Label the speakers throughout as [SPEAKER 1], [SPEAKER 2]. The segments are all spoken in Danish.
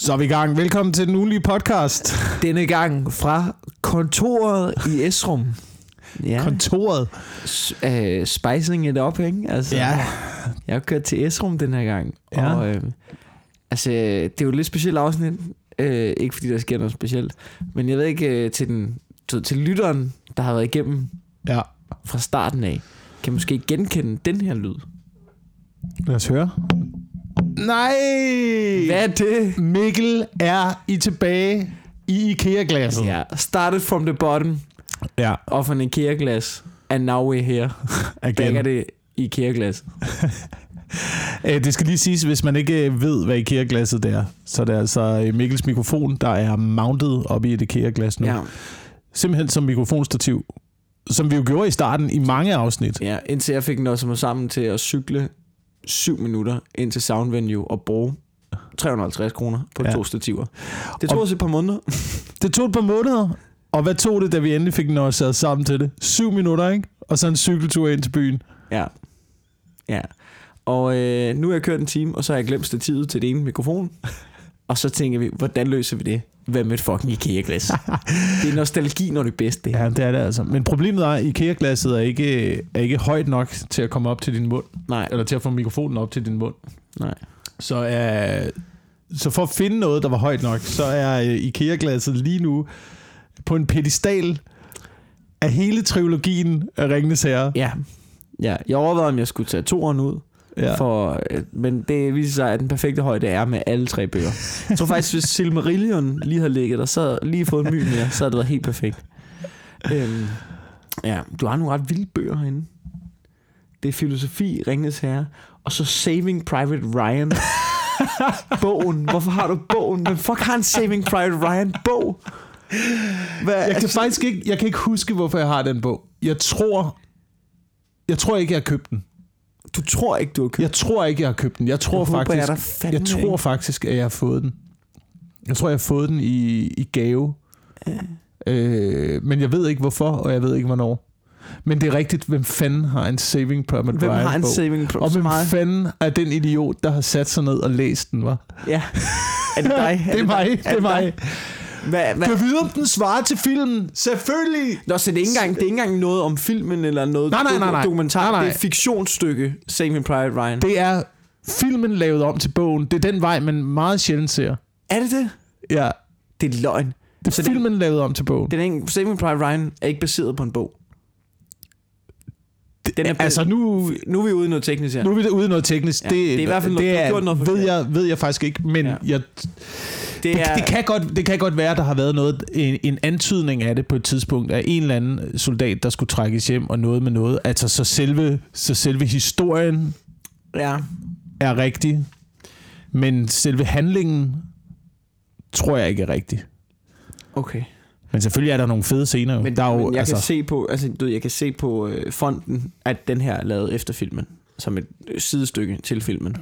[SPEAKER 1] Så er vi i gang. Velkommen til den ugenlige podcast.
[SPEAKER 2] Denne gang fra kontoret i Esrum. Ja,
[SPEAKER 1] Kontoret.
[SPEAKER 2] s- øh, spicing it up, ikke? Altså,
[SPEAKER 1] Ja.
[SPEAKER 2] Jeg har kørt til Esrum den her gang.
[SPEAKER 1] Ja.
[SPEAKER 2] Og, øh, altså, det er jo et lidt specielt afsnit. Øh, ikke fordi der sker noget specielt. Men jeg ved ikke, øh, til, den, til, til lytteren, der har været igennem
[SPEAKER 1] Ja.
[SPEAKER 2] fra starten af, kan måske genkende den her lyd.
[SPEAKER 1] Lad os høre. Nej!
[SPEAKER 2] Hvad er det?
[SPEAKER 1] Mikkel er i tilbage i IKEA-glasset.
[SPEAKER 2] Ja, started from the bottom
[SPEAKER 1] ja.
[SPEAKER 2] of an IKEA-glas, and now we're here. Back at
[SPEAKER 1] Again.
[SPEAKER 2] det IKEA-glas.
[SPEAKER 1] Æ, Øh, det skal lige siges, hvis man ikke øh, ved, hvad IKEA-glasset det er, så er det altså øh, Mikkels mikrofon, der er mounted op i et IKEA-glas nu. Ja.
[SPEAKER 2] Ja,
[SPEAKER 1] Simpelthen som mikrofonstativ, som vi jo gjorde i starten i mange afsnit.
[SPEAKER 2] ja, indtil jeg fik den også sammen til at cykle 7 minutter ind til Sound Venue og bruge 350 kroner på
[SPEAKER 1] Ja.
[SPEAKER 2] ja. to stativer. Det tog os et par måneder.
[SPEAKER 1] Det tog et par måneder, og hvad tog det, da vi endelig fik den også sat sammen til det? Syv minutter, ikke? Og så en cykeltur ind til byen.
[SPEAKER 2] Ja. Ja. Og øh, nu har jeg kørt en time, og så har jeg glemt stativet til det ene mikrofon. Og så tænker vi, hvordan løser vi det? Hvad med et fucking IKEA-glas? det er nostalgi, når det er bedst, det her.
[SPEAKER 1] Ja, det er det altså. Men problemet er, at IKEA-glasset er ikke, er ikke højt nok til at komme op til din mund,
[SPEAKER 2] Nej,
[SPEAKER 1] eller til at få mikrofonen op til din mund.
[SPEAKER 2] nej.
[SPEAKER 1] Så, øh, så for at finde noget, der var højt nok, så er øh, IKEA-glasset lige nu på en pedestal af hele trilogien af Ringenes Herre.
[SPEAKER 2] Ja. ja. Jeg overvejede, om jeg skulle tage toeren ud.
[SPEAKER 1] Ja.
[SPEAKER 2] Ja. For, øh, men det viser sig, at den perfekte højde er med alle tre bøger. Jeg tror faktisk, hvis Silmarillion lige havde ligget der, så havde jeg lige fået en my mere, så havde det været helt perfekt. Øhm, ja, du har nogle ret vilde bøger herinde. Det er filosofi, Ringens Herre, og så Saving Private Ryan. bogen. Hvorfor har du bogen? Hvem fuck har en Saving Private Ryan bog? Hvad, altså,
[SPEAKER 1] Jeg kan faktisk ikke, jeg kan ikke huske, hvorfor jeg har den bog. Jeg tror, jeg tror ikke, jeg har købt den.
[SPEAKER 2] du tror ikke, du har købt
[SPEAKER 1] Jeg tror ikke, jeg har købt den. Jeg tror
[SPEAKER 2] Jeg håber,
[SPEAKER 1] faktisk,
[SPEAKER 2] jeg da fandme
[SPEAKER 1] jeg tror
[SPEAKER 2] ikke.
[SPEAKER 1] faktisk, at jeg har fået den. Jeg tror, jeg har fået den i, i gave. Øh, men jeg ved ikke hvorfor, og jeg ved ikke hvornår. Men det er rigtigt, hvem fanden har en Saving Private
[SPEAKER 2] Hvem
[SPEAKER 1] Ryan
[SPEAKER 2] har en
[SPEAKER 1] bog?
[SPEAKER 2] Saving
[SPEAKER 1] og
[SPEAKER 2] Private
[SPEAKER 1] hvem
[SPEAKER 2] Ryan?
[SPEAKER 1] fanden er den idiot, der har sat sig ned og læst den, var?
[SPEAKER 2] Ja. Er det dig?
[SPEAKER 1] Det er mig, det er mig.
[SPEAKER 2] Hvad, hvad?
[SPEAKER 1] Kan vide, om den svarer til filmen? Selvfølgelig!
[SPEAKER 2] Nå, så det er, ikke engang, det er ikke engang noget om filmen eller noget
[SPEAKER 1] Nej, nej, nej, nej.
[SPEAKER 2] dokumentar.
[SPEAKER 1] Nej, nej.
[SPEAKER 2] Det er et fiktionsstykke, Saving Private Ryan. Det.
[SPEAKER 1] Det er filmen lavet om til bogen. Det er den vej, man meget sjældent ser.
[SPEAKER 2] Er det det?
[SPEAKER 1] Ja,
[SPEAKER 2] Det er løgn.
[SPEAKER 1] det er
[SPEAKER 2] Så det-
[SPEAKER 1] filmen lavet om til bogen.
[SPEAKER 2] Den er ikke, Saving Private Ryan er ikke baseret på en bog. Den er,
[SPEAKER 1] altså, nu,
[SPEAKER 2] nu er vi ude i noget teknisk her.
[SPEAKER 1] Nu er vi ude i noget teknisk.
[SPEAKER 2] Ja, det er i hvert fald noget- du har gjort noget
[SPEAKER 1] ved
[SPEAKER 2] forkert.
[SPEAKER 1] jeg, ved jeg faktisk ikke, men ja.
[SPEAKER 2] Ja.
[SPEAKER 1] jeg, det,
[SPEAKER 2] er,
[SPEAKER 1] er... det, kan godt, det kan godt være, at der har været noget, en, en antydning af det på et tidspunkt, af en eller anden soldat, der skulle trækkes hjem og noget med noget. Altså, så selve, så selve historien
[SPEAKER 2] ja.
[SPEAKER 1] er rigtig, men selve handlingen tror jeg ikke er rigtig.
[SPEAKER 2] Okay.
[SPEAKER 1] Men selvfølgelig er der nogle fede scener. jo.
[SPEAKER 2] Men,
[SPEAKER 1] der er jo,
[SPEAKER 2] men jeg,
[SPEAKER 1] altså,
[SPEAKER 2] kan se på, altså, du, ved, jeg kan se på øh, fonden, at den her er lavet efter filmen. Som et øh, sidestykke til filmen.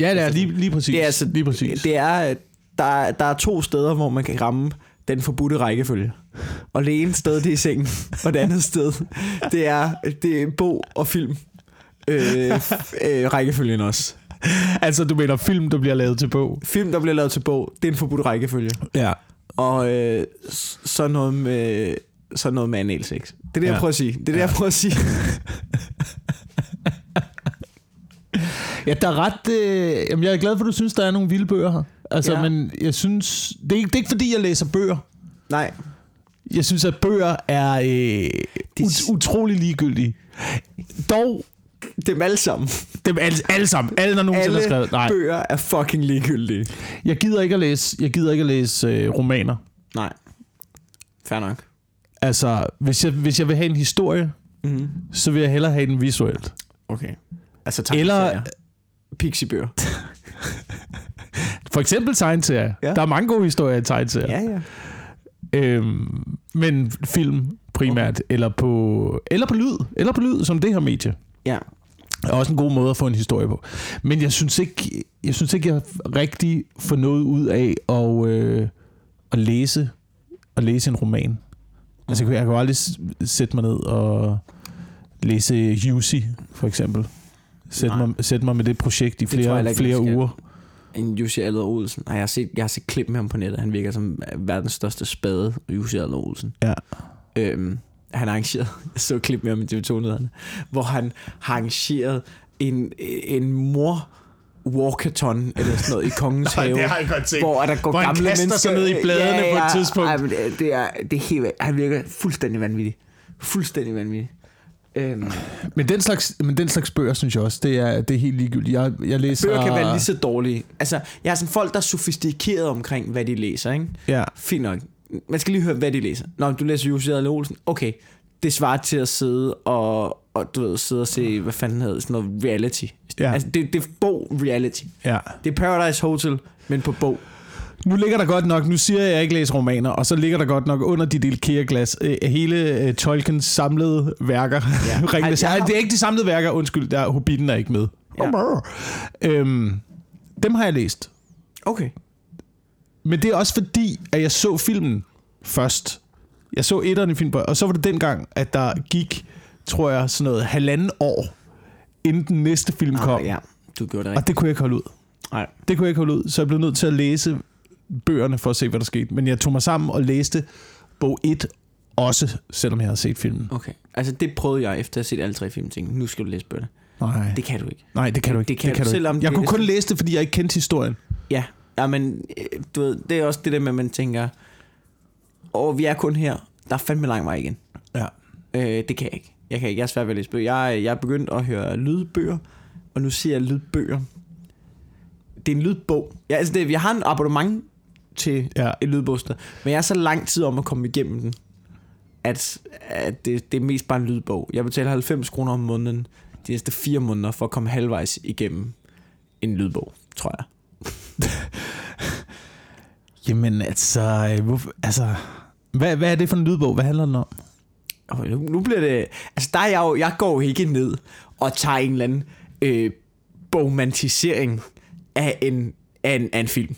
[SPEAKER 1] ja, det er lige, lige præcis.
[SPEAKER 2] Det er altså-
[SPEAKER 1] lige præcis.
[SPEAKER 2] Det er, øh, der, er- der er to steder, hvor man kan ramme den forbudte rækkefølge. Og det ene sted, det er i sengen. Og det andet sted, det er, det er bog og film. Øh, f- øh, rækkefølgen også.
[SPEAKER 1] altså, du mener film, der bliver lavet til bog.
[SPEAKER 2] Film, der bliver lavet til bog, det er en forbudt rækkefølge.
[SPEAKER 1] Ja.
[SPEAKER 2] Og øh, s- så noget med, så noget med anal sex. Det er det, ja.
[SPEAKER 1] Ja.
[SPEAKER 2] jeg prøver at sige. Det er det, ja. jeg prøver at sige.
[SPEAKER 1] Ja, der er ret... Øh, jamen, jeg er glad for, at du synes, der er nogle vilde bøger her. Altså, ja.
[SPEAKER 2] Ja.
[SPEAKER 1] men jeg synes... Det er, ikke, det er ikke, fordi jeg læser bøger.
[SPEAKER 2] Nej.
[SPEAKER 1] Jeg synes, at bøger er øh, ut- utrolig ligegyldige. Dog
[SPEAKER 2] Dem alle sammen.
[SPEAKER 1] dem alle, alle sammen. Alle, der nogensinde
[SPEAKER 2] Alle
[SPEAKER 1] har skrevet. Nej,
[SPEAKER 2] bøger er fucking ligegyldige.
[SPEAKER 1] jeg gider ikke at læse, jeg gider ikke at læse øh, romaner.
[SPEAKER 2] Nej. Fair nok.
[SPEAKER 1] Altså, hvis jeg, hvis jeg vil have en historie,
[SPEAKER 2] Mm-hmm.
[SPEAKER 1] så vil jeg hellere have den visuelt.
[SPEAKER 2] Okay. Altså
[SPEAKER 1] Eller-
[SPEAKER 2] tegneserier. Pixiebøger.
[SPEAKER 1] For eksempel tegneserier. Ja.
[SPEAKER 2] Ja.
[SPEAKER 1] Der er mange gode historier i tegneserier.
[SPEAKER 2] ja.
[SPEAKER 1] Øhm, men film primært, okay. eller, på, eller på lyd, eller på lyd, som det her medie.
[SPEAKER 2] Ja.
[SPEAKER 1] er også en god måde at få en historie på. Men jeg synes ikke, jeg, synes ikke, jeg rigtig får noget ud af at, øh, at, læse, at læse en roman. Altså, jeg kan, jeg kan jo aldrig s- sætte mig ned og læse Jussi, for eksempel. Sætte
[SPEAKER 2] Nej.
[SPEAKER 1] mig, sætte mig med det projekt i
[SPEAKER 2] tror jeg
[SPEAKER 1] flere,
[SPEAKER 2] heller
[SPEAKER 1] det
[SPEAKER 2] ikke,
[SPEAKER 1] flere
[SPEAKER 2] jeg skal.
[SPEAKER 1] uger.
[SPEAKER 2] en Jussi Adler Olsen. Nej, jeg har set, jeg har set klip med ham på nettet. Han virker som øh, verdens største spade, Jussi Adler Olsen.
[SPEAKER 1] Ja.
[SPEAKER 2] Øhm, han arrangerede, jeg så et klip med ham i tv 2 hvor han har arrangeret en, en mor walkathon eller sådan noget i Kongens
[SPEAKER 1] Nej,
[SPEAKER 2] Have.
[SPEAKER 1] det har jeg godt set.
[SPEAKER 2] Hvor, at der går
[SPEAKER 1] Hvor han
[SPEAKER 2] gamle
[SPEAKER 1] kaster
[SPEAKER 2] mennesker.
[SPEAKER 1] sig ned i bladene på et tidspunkt.
[SPEAKER 2] Ej, men øh, det, det, er, det er helt, vildt. han virker fuldstændig vanvittig. Fuldstændig vanvittig. Øhm,
[SPEAKER 1] Men den slags, men den slags bøger, synes jeg også, det er, det er helt ligegyldigt. Jeg, jeg læser...
[SPEAKER 2] bøger kan være lige så dårlige. Altså, jeg er sådan folk, der er sofistikeret omkring, hvad de læser, ikke?
[SPEAKER 1] Ja.
[SPEAKER 2] Fint nok. Man skal lige høre, hvad de læser. Nå, du læser Jussi Adler Olsen. Okay, det svarer til at sidde og, og du ved, sidde og se, hvad fanden hedder det, sådan noget reality.
[SPEAKER 1] Ja.
[SPEAKER 2] Altså, det, det er bog reality.
[SPEAKER 1] ja.
[SPEAKER 2] Det er Paradise Hotel, men på bog.
[SPEAKER 1] Nu ligger der godt nok, nu siger jeg, at jeg ikke læser romaner, og så ligger der godt nok under dit lille kærglas øh, hele øh, Tolkiens samlede værker. Ja. Ringnes.
[SPEAKER 2] Ej, jeg
[SPEAKER 1] Ej,
[SPEAKER 2] har-
[SPEAKER 1] det er ikke de samlede værker, undskyld, der Hobbiten er ikke med.
[SPEAKER 2] Ja.
[SPEAKER 1] Ja. Øhm, dem har jeg læst.
[SPEAKER 2] Okay.
[SPEAKER 1] Men det er også fordi, at jeg så filmen først. Jeg så etteren i filmen, og så var det dengang, at der gik, tror jeg, sådan noget halvanden år, inden den næste film kom.
[SPEAKER 2] Ah, ja, du gjorde det rigtigt.
[SPEAKER 1] Og det kunne jeg ikke holde ud.
[SPEAKER 2] Nej.
[SPEAKER 1] Det kunne jeg ikke holde ud, så jeg blev nødt til at læse bøgerne for at se, hvad der skete. Men jeg tog mig sammen og læste bog 1 også, selvom jeg havde set filmen.
[SPEAKER 2] Okay. Altså, det prøvede jeg efter at have set alle tre film ting. Nu skal du læse bøgerne.
[SPEAKER 1] Nej, det,
[SPEAKER 2] Det kan du ikke.
[SPEAKER 1] nej, det kan du ikke.
[SPEAKER 2] det kan du,
[SPEAKER 1] ikke.
[SPEAKER 2] selvom
[SPEAKER 1] jeg
[SPEAKER 2] det-
[SPEAKER 1] kunne kun læse det, fordi jeg ikke kendte historien.
[SPEAKER 2] Ja, ja men øh, du ved, det er også det der med, at man tænker, og vi er kun her, der er fandme lang vej igen.
[SPEAKER 1] Ja.
[SPEAKER 2] Øh, det kan jeg ikke. Jeg kan ikke, jeg er svært ved at læse bøger. Jeg, jeg er begyndt at høre lydbøger, og nu siger jeg lydbøger. Det er en lydbog. Ja, altså det, jeg har en abonnement til
[SPEAKER 1] Ja.
[SPEAKER 2] ja. et lydbogsted, men jeg er så lang tid om at komme igennem den, at, at det, det er mest bare en lydbog. Jeg betaler 90 kroner om måneden de næste fire måneder for at komme halvvejs igennem en lydbog, tror jeg.
[SPEAKER 1] Jamen altså, øh, hvorfor, altså hvad, hvad er det for en lydbog? Hvad handler den om?
[SPEAKER 2] Okay, nu, nu bliver det... Altså, der er jeg jo... Jeg går jo ikke ned og tager en eller anden øh, bogmantisering af en, af en, af en film.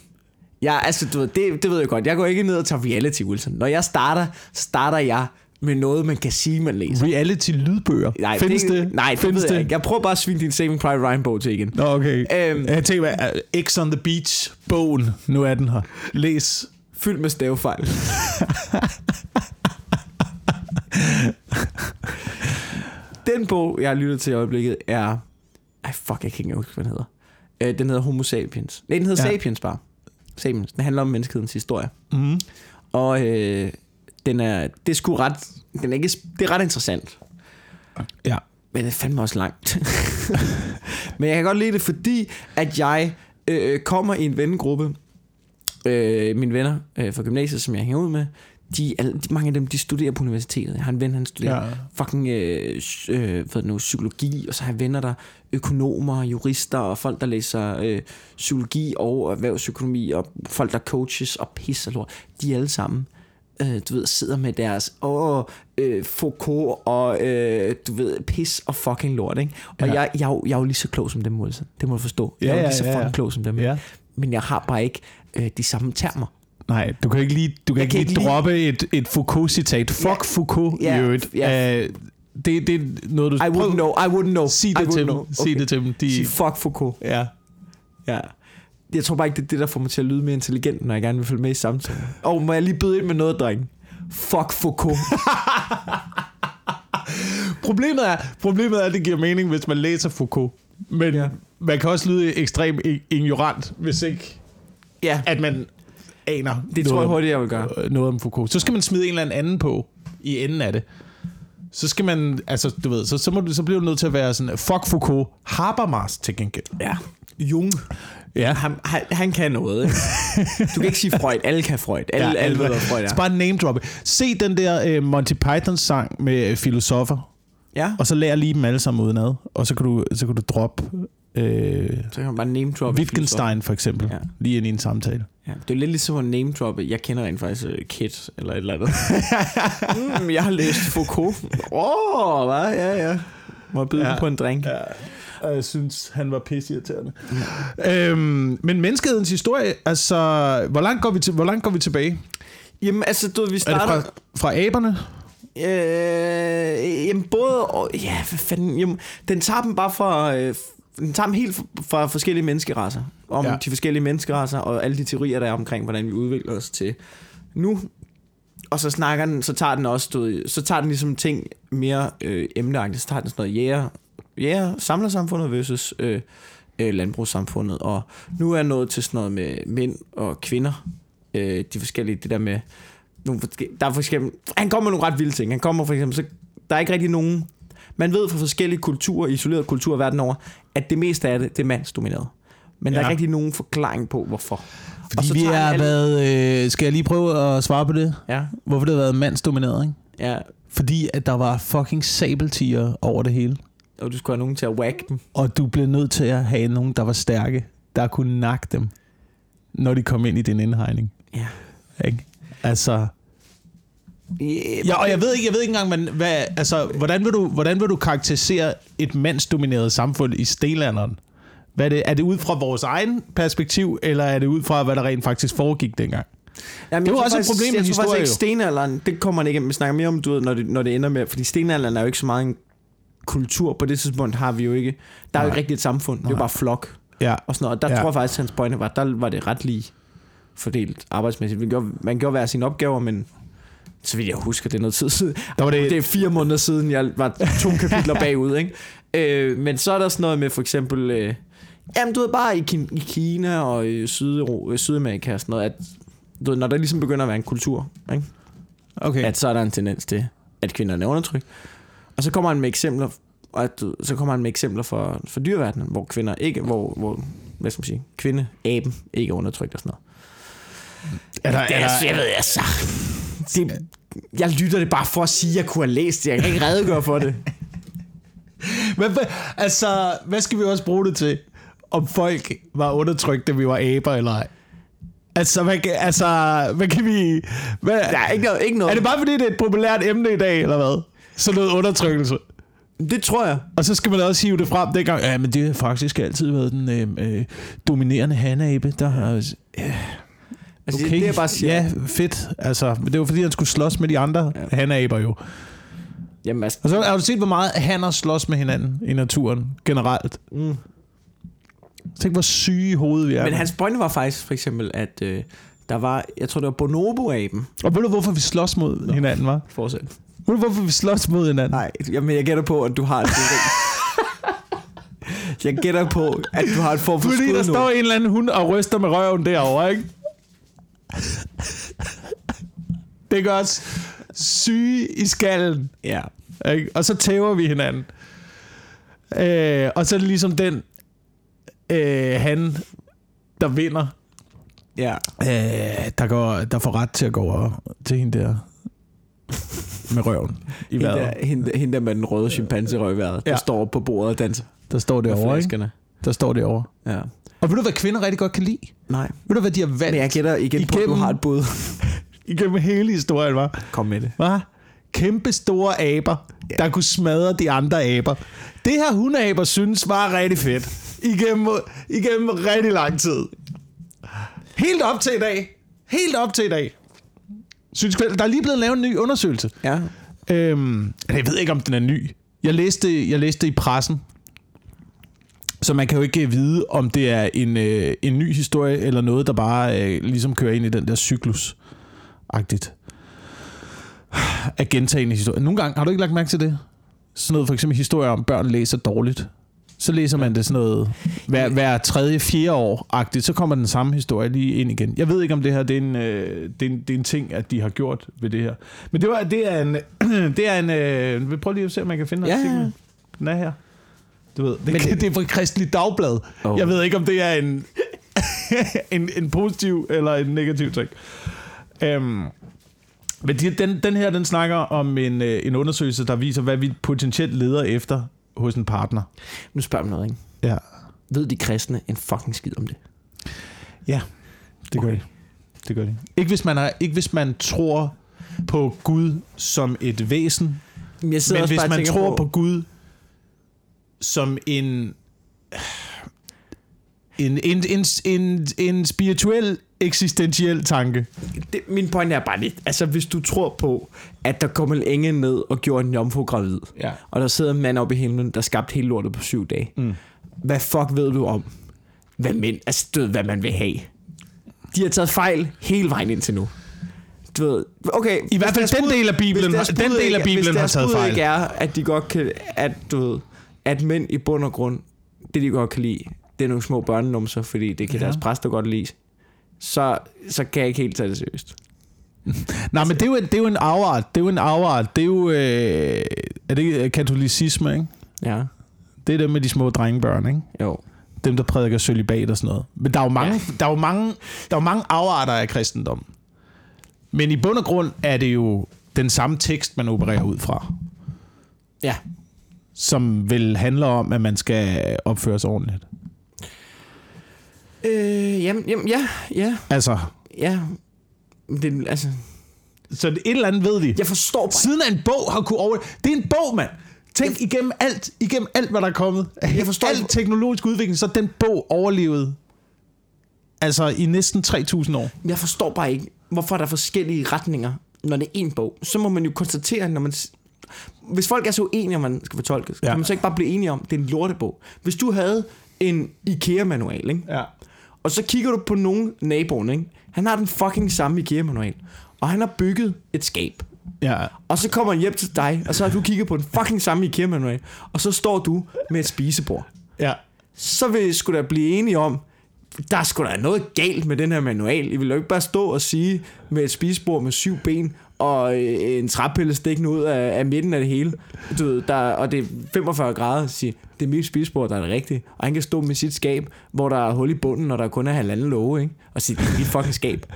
[SPEAKER 2] Jeg, altså, du ved, det, det ved jeg godt. Jeg går ikke ned og tager reality, Wilson. Når jeg starter, så starter jeg med noget, man kan sige, man læser.
[SPEAKER 1] Reality-lydbøger?
[SPEAKER 2] Nej,
[SPEAKER 1] Mm-hmm. Findes det?
[SPEAKER 2] Nej, det
[SPEAKER 1] Findes
[SPEAKER 2] ved jeg
[SPEAKER 1] det?
[SPEAKER 2] ikke. Jeg prøver bare at svine din Saving Private Ryan-bog til igen.
[SPEAKER 1] Nå, okay.
[SPEAKER 2] Øhm.
[SPEAKER 1] jeg tænker, hvad- X on the Beach-bogen. Nu er den her. Læs.
[SPEAKER 2] Fyldt med stavefejl. Den bog, jeg lytter til i øjeblikket, er... Ej, fuck, jeg kan ikke huske, hvad den hedder. Øh, den hedder Homo Sapiens. Nej, den hedder
[SPEAKER 1] Ja.
[SPEAKER 2] ja. Sapiens bare. Sapiens. Den handler om menneskehedens historie.
[SPEAKER 1] Mm.
[SPEAKER 2] Og øh, den er... Det er sgu ret... Den er ikke, det er ret interessant.
[SPEAKER 1] Ja.
[SPEAKER 2] Men det er fandme også langt. Men jeg kan godt lide det, fordi at jeg øh, kommer i en vennegruppe. Øh, mine venner øh, fra gymnasiet, som jeg hænger ud med, de, alle, de, mange af dem, de studerer på universitetet. Jeg har en ven, han studerer
[SPEAKER 1] Ja.
[SPEAKER 2] ja. fucking øh, s- øh, hvad er det nu, psykologi, og så har jeg venner, der er økonomer, jurister, og folk, der læser øh, psykologi og erhvervsøkonomi, og folk, der coaches og pisser lort. De er alle sammen øh, du ved, sidder med deres åh, øh, Foucault og øh, du ved, pis og fucking lort, ikke? Og
[SPEAKER 1] Ja.
[SPEAKER 2] ja. jeg, jeg, er jo- jeg er jo lige så klog som dem, Wilson. Det må du forstå. Jeg
[SPEAKER 1] Ja,
[SPEAKER 2] er jo
[SPEAKER 1] ja,
[SPEAKER 2] lige så
[SPEAKER 1] ja,
[SPEAKER 2] fucking
[SPEAKER 1] ja.
[SPEAKER 2] klog som dem.
[SPEAKER 1] Ja.
[SPEAKER 2] Men jeg har bare ikke øh, de samme termer.
[SPEAKER 1] Nej, du kan ikke lige, du kan
[SPEAKER 2] Jeg
[SPEAKER 1] ikke
[SPEAKER 2] kan
[SPEAKER 1] lige,
[SPEAKER 2] ikke lide-
[SPEAKER 1] droppe et, et Foucault-citat. Fuck
[SPEAKER 2] Ja.
[SPEAKER 1] Foucault
[SPEAKER 2] Ja,
[SPEAKER 1] i øvrigt.
[SPEAKER 2] ja.
[SPEAKER 1] Øh, det, det er noget, du...
[SPEAKER 2] I
[SPEAKER 1] prøv-
[SPEAKER 2] wouldn't know, I wouldn't know.
[SPEAKER 1] Sig
[SPEAKER 2] I
[SPEAKER 1] det
[SPEAKER 2] wouldn't
[SPEAKER 1] til dem.
[SPEAKER 2] know.
[SPEAKER 1] Sig det til dem. De,
[SPEAKER 2] Sig fuck Foucault.
[SPEAKER 1] ja.
[SPEAKER 2] Ja. Jeg tror bare ikke, det er det, der får mig til at lyde mere intelligent, når jeg gerne vil følge med i samtalen. Og må jeg lige byde ind med noget, dreng? Fuck Foucault.
[SPEAKER 1] Problemet, er, problemet er, at det giver mening, hvis man læser Foucault. Men ja.
[SPEAKER 2] Ja.
[SPEAKER 1] man kan også lyde ekstremt i- ignorant, hvis ikke
[SPEAKER 2] ja,
[SPEAKER 1] at man aner
[SPEAKER 2] det tror jeg
[SPEAKER 1] noget,
[SPEAKER 2] hurtigt, jeg vil gøre.
[SPEAKER 1] hurtigt. noget om Foucault. Så skal man smide en eller anden anden på i enden af det. Så skal man, altså du ved, så, så, må du, så bliver du nødt til at være sådan, fuck Foucault, Habermas til gengæld.
[SPEAKER 2] Ja. Jung.
[SPEAKER 1] Ja.
[SPEAKER 2] Han, han, han kan noget, ikke? Du kan ikke sige Freud. Alle kan Freud. Alle, ja, alle ved, hvad Freud
[SPEAKER 1] Så
[SPEAKER 2] er.
[SPEAKER 1] bare name droppe. Se den der øh, Monty Pythons sang med øh, filosofer,
[SPEAKER 2] Ja.
[SPEAKER 1] og så lær lige dem alle sammen udenad, og så kan du, så kan du droppe øh,
[SPEAKER 2] Så kan man bare name droppe.
[SPEAKER 1] Wittgenstein for eksempel, ja.
[SPEAKER 2] Ja.
[SPEAKER 1] lige ind i en samtale.
[SPEAKER 2] Ja, det er lidt ligesom at name droppe. Jeg kender rent faktisk øh, Kit eller et eller andet. mm, jeg har læst Foucault. Åh, oh, hvad? Ja, ja. Må jeg byde
[SPEAKER 1] Ja.
[SPEAKER 2] ja. på en drink? Ja.
[SPEAKER 1] og jeg synes, han var pisseirriterende. øhm, men menneskehedens historie, altså, hvor langt går vi, til, hvor langt går vi tilbage?
[SPEAKER 2] Jamen, altså, du ved, vi
[SPEAKER 1] Er det
[SPEAKER 2] starter...
[SPEAKER 1] fra, fra aberne?
[SPEAKER 2] Øh, jamen, både... Og, ja, hvad fanden... Jamen, den tager dem bare fra, øh, den tager dem helt f- fra forskellige menneskerasser. Om
[SPEAKER 1] Ja.
[SPEAKER 2] ja. de forskellige menneskerasser og alle de teorier, der er omkring, hvordan vi udvikler os til nu. Og så snakker den, så tager den også, du, ved, så tager den ligesom ting mere øh, emneagtigt. Så tager den sådan noget jæger, jæger samlersamfundet versus øh, øh, landbrugssamfundet. Og nu er jeg nået til sådan noget med mænd og kvinder. Øh, de forskellige, det der med... Nogle, forske- der er for eksempel, han kommer med nogle ret vilde ting. Han kommer for eksempel, så der er ikke rigtig nogen... Man ved fra forskellige kulturer, isolerede kulturer verden over, at det meste af det, det er mandsdomineret. Men ja. der
[SPEAKER 1] Ja.
[SPEAKER 2] er ikke rigtig nogen forklaring på, hvorfor.
[SPEAKER 1] Fordi vi
[SPEAKER 2] tager han
[SPEAKER 1] har
[SPEAKER 2] alle-
[SPEAKER 1] været... Øh, skal jeg lige prøve at svare på det?
[SPEAKER 2] Ja,
[SPEAKER 1] Hvorfor det har været mandsdomineret, ikke?
[SPEAKER 2] ja.
[SPEAKER 1] Fordi at der var fucking sabeltiger over det hele.
[SPEAKER 2] Og du skulle have nogen til at whack dem.
[SPEAKER 1] Og du blev nødt til at have nogen, der var stærke, der kunne nakke dem, når de kom ind i din indhegning.
[SPEAKER 2] Ja.
[SPEAKER 1] Ikke? Altså,
[SPEAKER 2] Yeah,
[SPEAKER 1] ja, og jeg ved ikke, jeg ved ikke engang, men hvad, altså, hvordan, vil du, hvordan vil du karakterisere et mandsdomineret samfund i stenalderen? Hvad er, det, er det ud fra vores egen perspektiv, eller er det ud fra, hvad der rent faktisk foregik dengang?
[SPEAKER 2] Jamen,
[SPEAKER 1] Det var
[SPEAKER 2] jeg
[SPEAKER 1] også
[SPEAKER 2] tror
[SPEAKER 1] et
[SPEAKER 2] faktisk-
[SPEAKER 1] problem med
[SPEAKER 2] Jeg tror
[SPEAKER 1] historie,
[SPEAKER 2] faktisk ikke,
[SPEAKER 1] jo.
[SPEAKER 2] stenalderen, det kommer man ikke Vi snakker mere om, du ved, når det, når det ender med, fordi stenalderen er jo ikke så meget en kultur. På det tidspunkt har vi jo ikke, der er jo
[SPEAKER 1] Nej.
[SPEAKER 2] ikke rigtigt et samfund. Det er jo bare flok
[SPEAKER 1] Ja,
[SPEAKER 2] og sådan noget. Og der
[SPEAKER 1] Ja.
[SPEAKER 2] ja. tror jeg faktisk, at hans pointe var, at der var det ret lige fordelt arbejdsmæssigt. Man gjorde, man gjorde hver sine opgaver, men så vidt jeg husker, det er noget tid siden.
[SPEAKER 1] der var det,
[SPEAKER 2] Det er fire måneder siden, jeg var to kapitler bagud, ikke? Øh, men så er der sådan noget med for eksempel... Øh, jamen, du ved, bare i, Kin- i Kina og i Sydero- øh, Sydamerika og sådan noget, at du ved, når der ligesom begynder at være en kultur, ikke?
[SPEAKER 1] okay.
[SPEAKER 2] at så er der en tendens til, at kvinderne er undertrykt. Og så kommer han med eksempler, og at, du- så kommer han med eksempler for, for dyreverdenen, hvor kvinder ikke, hvor, hvor hvad skal man sige, kvinde, aben, ikke er undertrykt og sådan noget.
[SPEAKER 1] er der,
[SPEAKER 2] Det
[SPEAKER 1] er
[SPEAKER 2] er,
[SPEAKER 1] der,
[SPEAKER 2] jeg ved altså. Det, jeg lytter det bare for at sige, at jeg kunne have læst det. Jeg kan ikke redegøre for det.
[SPEAKER 1] Men hvad, altså, hvad skal vi også bruge det til? Om folk var undertrykt, da vi var aber eller ej? Altså, hvad, kan- altså, hvad kan vi... Hvad,
[SPEAKER 2] Der er ikke noget. Ikke noget.
[SPEAKER 1] er det bare fordi, det er et populært emne i dag, eller hvad? Sådan noget undertrykkelse.
[SPEAKER 2] det tror jeg.
[SPEAKER 1] Og så skal man også hive det frem dengang. Ja, men det har faktisk altid været den øh, øh, dominerende hanabe, der har...
[SPEAKER 2] Altså, okay. det, er det, jeg bare siger.
[SPEAKER 1] Ja, fedt. Altså, men det var fordi, han skulle slås med de andre ja. hanaber jo.
[SPEAKER 2] Jamen, altså,
[SPEAKER 1] Og så har du set, hvor meget hanner slås med hinanden i naturen generelt.
[SPEAKER 2] mm.
[SPEAKER 1] Tænk, hvor syge i hovedet vi er.
[SPEAKER 2] Men hans pointe var faktisk for eksempel, at øh, der var, jeg tror det var bonobo-aben.
[SPEAKER 1] Og ved du, hvorfor vi slås mod Nå. hinanden, var?
[SPEAKER 2] Fortsæt.
[SPEAKER 1] Ved du, hvorfor vi slås mod hinanden?
[SPEAKER 2] Nej, jamen, jeg gætter på, at du har en teori. jeg gætter på, at du har en form for
[SPEAKER 1] Fordi der
[SPEAKER 2] skud
[SPEAKER 1] står en eller anden hund og ryster med røven derovre, ikke? Det gør os syge i skallen,
[SPEAKER 2] Ja.
[SPEAKER 1] ikke? Og så tæver vi hinanden. Øh, og så er det ligesom den, øh, han, der vinder,
[SPEAKER 2] Ja.
[SPEAKER 1] øh, der, går, der får ret til at gå over til hende der med røven i
[SPEAKER 2] Hende
[SPEAKER 1] vejret.
[SPEAKER 2] der, hende, hende der med den røde chimpanserøg i vejret, der
[SPEAKER 1] Ja.
[SPEAKER 2] står på bordet og danser
[SPEAKER 1] Der står
[SPEAKER 2] med
[SPEAKER 1] derovre, ikke?
[SPEAKER 2] flaskerne.
[SPEAKER 1] Der står derovre.
[SPEAKER 2] Ja.
[SPEAKER 1] Og ved du, hvad kvinder rigtig godt kan lide?
[SPEAKER 2] Nej.
[SPEAKER 1] Ved du, hvad de har valgt
[SPEAKER 2] Men jeg gætter igen på, at du
[SPEAKER 1] Igennem-
[SPEAKER 2] har et bud.
[SPEAKER 1] igennem hele historien, var?
[SPEAKER 2] Kom med det.
[SPEAKER 1] Hva? Kæmpe store aber, ja. der kunne smadre de andre aber. Det her hundeaber synes var rigtig fedt. Igennem, igennem rigtig lang tid. Helt op til i dag. Helt op til i dag. Synes, der er lige blevet lavet en ny undersøgelse.
[SPEAKER 2] Ja.
[SPEAKER 1] Øhm, jeg ved ikke, om den er ny. Jeg læste, jeg læste i pressen, så man kan jo ikke vide, om det er en, øh, en ny historie, eller noget, der bare øh, ligesom kører ind i den der cyklus-agtigt. Af gentagende historier. Nogle gange, har du ikke lagt mærke til det? Sådan noget, for eksempel historier om, børn læser dårligt. Så læser man det sådan noget hver, hver tredje, fjerde år-agtigt, så kommer den samme historie lige ind igen. Jeg ved ikke, om det her det er en, øh, det er en, det er en ting, at de har gjort ved det her. Men det, var, det er en... det er en øh, vi prøver lige at se, om man kan finde
[SPEAKER 2] Ja.
[SPEAKER 1] artiklen. Den er her. Du ved, det, Men,
[SPEAKER 2] det-
[SPEAKER 1] det er fra Kristelig Dagblad. Oh.
[SPEAKER 2] Oh.
[SPEAKER 1] Jeg ved ikke, om det er en, en, en positiv eller en negativ ting. Øhm, men de, den, den her, den snakker om en, øh, en undersøgelse, der viser, hvad vi potentielt leder efter hos en partner.
[SPEAKER 2] Nu spørger jeg om noget, ikke?
[SPEAKER 1] Ja,
[SPEAKER 2] Ved de kristne en fucking skid om det?
[SPEAKER 1] ja det gør okay.
[SPEAKER 2] Okay.
[SPEAKER 1] de. Det gør de. Ikke hvis, man har, ikke hvis man tror på Gud som et væsen,
[SPEAKER 2] Men, jeg
[SPEAKER 1] Men
[SPEAKER 2] også
[SPEAKER 1] hvis
[SPEAKER 2] bare og
[SPEAKER 1] man
[SPEAKER 2] tænker
[SPEAKER 1] tror på... på Gud som en en, en, en, en, en spirituel, eksistentiel tanke.
[SPEAKER 2] Det, min pointe er bare lidt, altså hvis du tror på, at der kom en engel ned og gjorde en jomfru gravid,
[SPEAKER 1] Ja.
[SPEAKER 2] og der sidder en mand oppe i himlen, der skabte hele lortet på syv dage, mm. hvad fuck ved du om, hvad mænd er stød, hvad man vil have? De har taget fejl hele vejen indtil nu. Du ved, okay.
[SPEAKER 1] I hvert fald den del af Bibelen, har- den del af Bibelen har taget
[SPEAKER 2] Hvis deres bud
[SPEAKER 1] fejl.
[SPEAKER 2] ikke er, at de godt kan, at, du ved, at mænd i bund og grund, det de godt kan lide, det er nogle små børnenumser, fordi det kan
[SPEAKER 1] Ja.
[SPEAKER 2] ja. deres præster godt lide, så, så kan jeg ikke helt tage det seriøst.
[SPEAKER 1] Nej, men det er, jo, det er jo en afart. Det er jo en afart. Det er jo... Øh, er det katolicisme, ikke?
[SPEAKER 2] Ja,
[SPEAKER 1] Det er det med de små drengebørn, ikke?
[SPEAKER 2] jo.
[SPEAKER 1] Dem, der prædiker sølibat og sådan noget. Men der er jo mange, ja. der er jo mange, der er jo mange afarter af kristendom. Men i bund og grund er det jo den samme tekst, man opererer ud fra.
[SPEAKER 2] Ja,
[SPEAKER 1] Som vel handler om, at man skal opføre sig ordentligt.
[SPEAKER 2] Øh, jamen, jamen, ja, ja,
[SPEAKER 1] Altså,
[SPEAKER 2] ja. Men Det, altså,
[SPEAKER 1] så et eller andet ved de.
[SPEAKER 2] jeg forstår bare
[SPEAKER 1] Siden af en bog har kunne over... Det er en bog, mand! Tænk igennem alt, igennem alt, hvad der er kommet. Jeg
[SPEAKER 2] forstår
[SPEAKER 1] Al
[SPEAKER 2] ikke-
[SPEAKER 1] teknologisk udvikling, så er den bog overlevede altså i næsten 3.000 år.
[SPEAKER 2] Jeg forstår bare ikke, hvorfor der er forskellige retninger, når det er én bog. Så må man jo konstatere, når man... s- Hvis folk er så uenige, om man skal fortolke, ja.
[SPEAKER 1] Ja.
[SPEAKER 2] kan man så ikke bare blive enige om, at det er en lortebog. Hvis du havde en IKEA-manual, ikke?
[SPEAKER 1] Ja.
[SPEAKER 2] og så kigger du på nogen naboen, ikke? han har den fucking samme IKEA-manual, og han har bygget et skab.
[SPEAKER 1] Ja.
[SPEAKER 2] Og så kommer han hjem til dig, og så har du kigget på den fucking samme IKEA-manual, og så står du med et spisebord.
[SPEAKER 1] Ja.
[SPEAKER 2] så vil I sgu da blive enige om, der er sgu da noget galt med den her manual. I vil jo ikke bare stå og sige med et spisebord med syv ben og øh, en træpille stikkende ud af, af midten af det hele. Du ved, der, og det er 45 grader, og sige, det er mit spisebord, der er det rigtige. Og han kan stå med sit skab, hvor der er hul i bunden, og der kun er halvanden låge, ikke? og sige, det er mit fucking skab,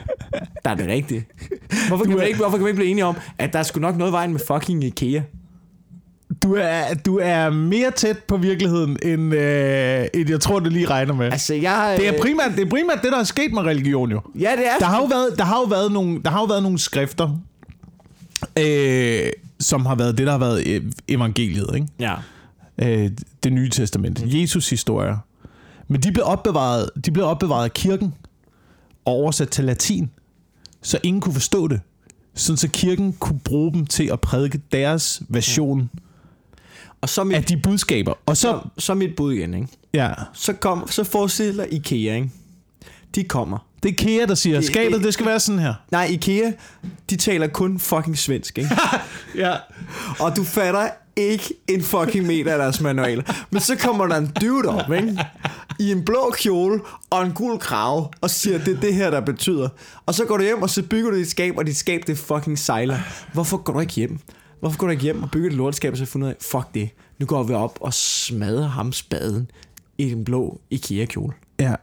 [SPEAKER 2] der er det rigtige. Hvorfor kan, man ikke, hvorfor kan man ikke blive enige om, at der er sgu nok noget i vejen med fucking IKEA?
[SPEAKER 1] Du er, du er mere tæt på virkeligheden, end, øh, end jeg tror, du lige regner med. Altså,
[SPEAKER 2] Altså, jeg...
[SPEAKER 1] det, er
[SPEAKER 2] øh,
[SPEAKER 1] primært, det er primært det, der er sket med religion jo.
[SPEAKER 2] Ja, det er
[SPEAKER 1] Der har jo været, der har jo været, nogle, der har jo været nogle skrifter, øh, som har været det, der har været øh, evangeliet, ikke?
[SPEAKER 2] Ja.
[SPEAKER 1] øh, det nye
[SPEAKER 2] Mm.
[SPEAKER 1] testamente, Jesus historier. Men de blev opbevaret, de blev opbevaret af kirken og oversat til latin, så ingen kunne forstå det. Sådan så kirken kunne bruge dem til at prædike deres
[SPEAKER 2] Mm.
[SPEAKER 1] version
[SPEAKER 2] Og så mit,
[SPEAKER 1] af de budskaber. Og så,
[SPEAKER 2] så, så mit bud igen, ikke?
[SPEAKER 1] ja,
[SPEAKER 2] så, kom, så forestiller IKEA, ikke? De kommer.
[SPEAKER 1] det er Kea, der siger, skabet, det skal være sådan her.
[SPEAKER 2] Nej, IKEA, de taler kun fucking svensk, ikke?
[SPEAKER 1] Ja.
[SPEAKER 2] Og du fatter ikke en fucking meter af deres manual. Men så kommer der en dude op, ikke? I en blå kjole og en gul krave, og siger, det er det her, der betyder. Og så går du hjem, og så bygger du dit skab, og dit skab, det fucking sejler. Hvorfor går du ikke hjem? Hvorfor går du ikke hjem og bygger et lortskab, og så finder ud af, fuck det, nu går vi op og smadrer ham spaden i den blå IKEA-kjole.
[SPEAKER 1] ja.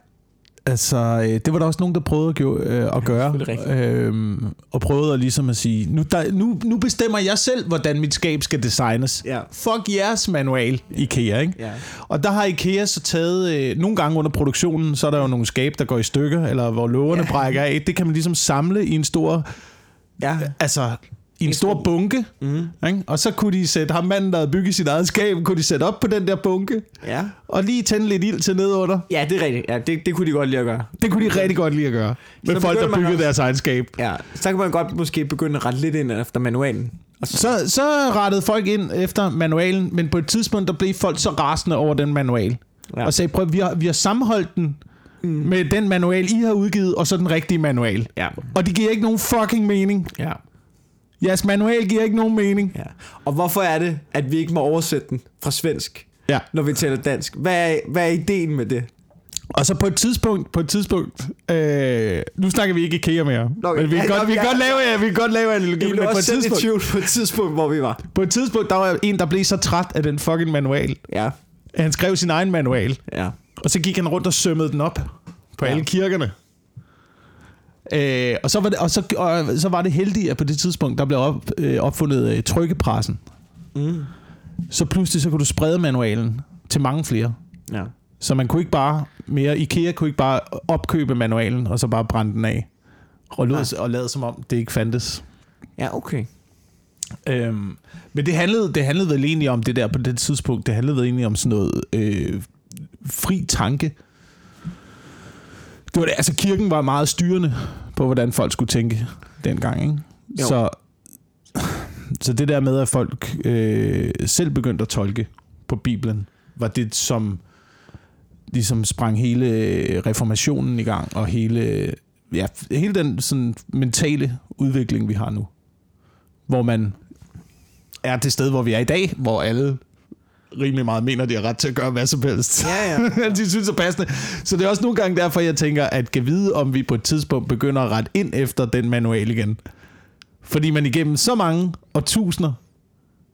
[SPEAKER 1] Altså, øh, det var der også nogen, der prøvede at, gjo- øh, at gøre.
[SPEAKER 2] selvfølgelig
[SPEAKER 1] øhm, og prøvede at ligesom at sige, nu, der, nu, nu bestemmer jeg selv, hvordan mit skab skal designes.
[SPEAKER 2] Ja.
[SPEAKER 1] Fuck jeres manual, IKEA, ikke?
[SPEAKER 2] Ja.
[SPEAKER 1] Og der har IKEA så taget, øh, nogle gange under produktionen, så er der jo nogle skab, der går i stykker, eller hvor lågerne ja. brækker af. Det kan man ligesom samle i en stor,
[SPEAKER 2] Ja.
[SPEAKER 1] altså i en stor bunke. Mm. Ikke? Og så kunne de sætte ham manden, der havde bygget sit eget skab, kunne de sætte op på den der bunke,
[SPEAKER 2] Ja.
[SPEAKER 1] og lige tænde lidt ild til nedunder.
[SPEAKER 2] Ja, det er rigtigt. Ja, det, det kunne de godt lide at gøre.
[SPEAKER 1] Det kunne de rigtig godt lide at gøre. Med
[SPEAKER 2] Så
[SPEAKER 1] folk, der
[SPEAKER 2] begynder man
[SPEAKER 1] byggede
[SPEAKER 2] også-
[SPEAKER 1] deres egen skab.
[SPEAKER 2] Ja, så kan man godt måske begynde at rette lidt ind efter manualen. Og så,
[SPEAKER 1] Så, så rettede folk ind efter manualen, men på et tidspunkt, der blev folk så rasende over den manual. Ja.
[SPEAKER 2] Ja.
[SPEAKER 1] Og sagde, prøv, vi har, vi har sammenholdt den mm. med den manual, I har udgivet, og så den rigtige manual.
[SPEAKER 2] ja.
[SPEAKER 1] Og det giver ikke nogen fucking mening.
[SPEAKER 2] ja.
[SPEAKER 1] Jeres manual giver ikke nogen mening.
[SPEAKER 2] ja. Og hvorfor er det, at vi ikke må oversætte den fra svensk,
[SPEAKER 1] Ja.
[SPEAKER 2] når vi taler dansk? Hvad er, hvad er ideen med det?
[SPEAKER 1] Og så på et tidspunkt, på et tidspunkt, øh, nu snakker vi ikke IKEA mere.
[SPEAKER 2] Nå,
[SPEAKER 1] men vi kan
[SPEAKER 2] ja,
[SPEAKER 1] godt, vi
[SPEAKER 2] nå,
[SPEAKER 1] kan
[SPEAKER 2] ja.
[SPEAKER 1] godt lave, ja, vi kan godt lave en
[SPEAKER 2] Vi
[SPEAKER 1] lille
[SPEAKER 2] blev
[SPEAKER 1] på et
[SPEAKER 2] også selv i
[SPEAKER 1] tidspunkt.
[SPEAKER 2] tvivl på et tidspunkt, hvor vi var.
[SPEAKER 1] På et tidspunkt, der var en, der blev så træt af den fucking manual.
[SPEAKER 2] Ja,
[SPEAKER 1] at Han skrev sin egen manual.
[SPEAKER 2] ja.
[SPEAKER 1] Og så gik han rundt og sømmede den op på ja.
[SPEAKER 2] Ja.
[SPEAKER 1] alle kirkerne. Øh, og, så var det, og, så, og så var det heldigt, at på det tidspunkt, der blev op, øh, opfundet øh, trykkepressen.
[SPEAKER 2] Mm.
[SPEAKER 1] Så pludselig så kunne du sprede manualen til mange flere.
[SPEAKER 2] Ja.
[SPEAKER 1] Så man kunne ikke bare mere, IKEA kunne ikke bare opkøbe manualen, og så bare brænde den af. Og, lod, og lade som om, det ikke fandtes.
[SPEAKER 2] Ja, okay.
[SPEAKER 1] Øhm, men det handlede, det handlede vel egentlig om det der på det tidspunkt. Det handlede vel egentlig om sådan noget øh, fri tanke. Det var det, altså kirken var meget styrende på, hvordan folk skulle tænke dengang. Ikke?
[SPEAKER 2] Jo.
[SPEAKER 1] Så, så det der med, at folk øh, selv begyndte at tolke på Bibelen, var det, som ligesom sprang hele øh, reformationen i gang, og hele, ja, hele den sådan, mentale udvikling, vi har nu. Hvor man er det sted, hvor vi er i dag, hvor alle rimelig meget mener, de har ret til at gøre hvad som helst.
[SPEAKER 2] Ja,
[SPEAKER 1] ja. de synes er passende. Så det er også nogle gange derfor, jeg tænker, at kan vide, om vi på et tidspunkt begynder at rette ind efter den manual igen. Fordi man igennem så mange og tusinder,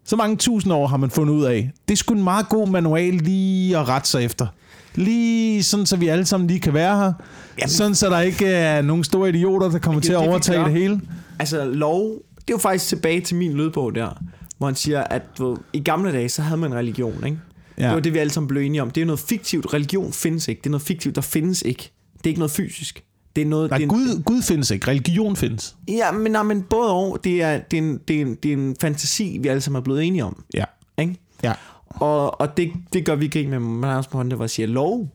[SPEAKER 1] så mange tusind år har man fundet ud af, det er sgu en meget god manual lige at rette sig efter. Lige sådan, så vi alle sammen lige kan være her. Jamen. Sådan, så der ikke er nogen store idioter, der kommer
[SPEAKER 2] det
[SPEAKER 1] til
[SPEAKER 2] er
[SPEAKER 1] at
[SPEAKER 2] jo det, vi
[SPEAKER 1] overtage
[SPEAKER 2] gør.
[SPEAKER 1] det hele.
[SPEAKER 2] Altså lov, det er jo faktisk tilbage til min lydbog der, hvor han siger, at du, ved, i gamle dage, så havde man religion, ikke?
[SPEAKER 1] Ja.
[SPEAKER 2] Ja. Det var det, vi alle sammen blev enige om. Det er noget fiktivt. Religion findes ikke. Det er noget fiktivt, der findes ikke. Det er ikke noget fysisk. Det er noget...
[SPEAKER 1] Nej,
[SPEAKER 2] det er en-
[SPEAKER 1] Gud, Gud findes ikke. Religion findes.
[SPEAKER 2] Ja, men, nej, men både og. Det er, det, er en, det, er en, det er en fantasi, vi alle sammen er blevet enige om.
[SPEAKER 1] Ja.
[SPEAKER 2] Ikke?
[SPEAKER 1] Ja.
[SPEAKER 2] Og, og det, det gør vi grin med Mads Monte, hvor siger, lov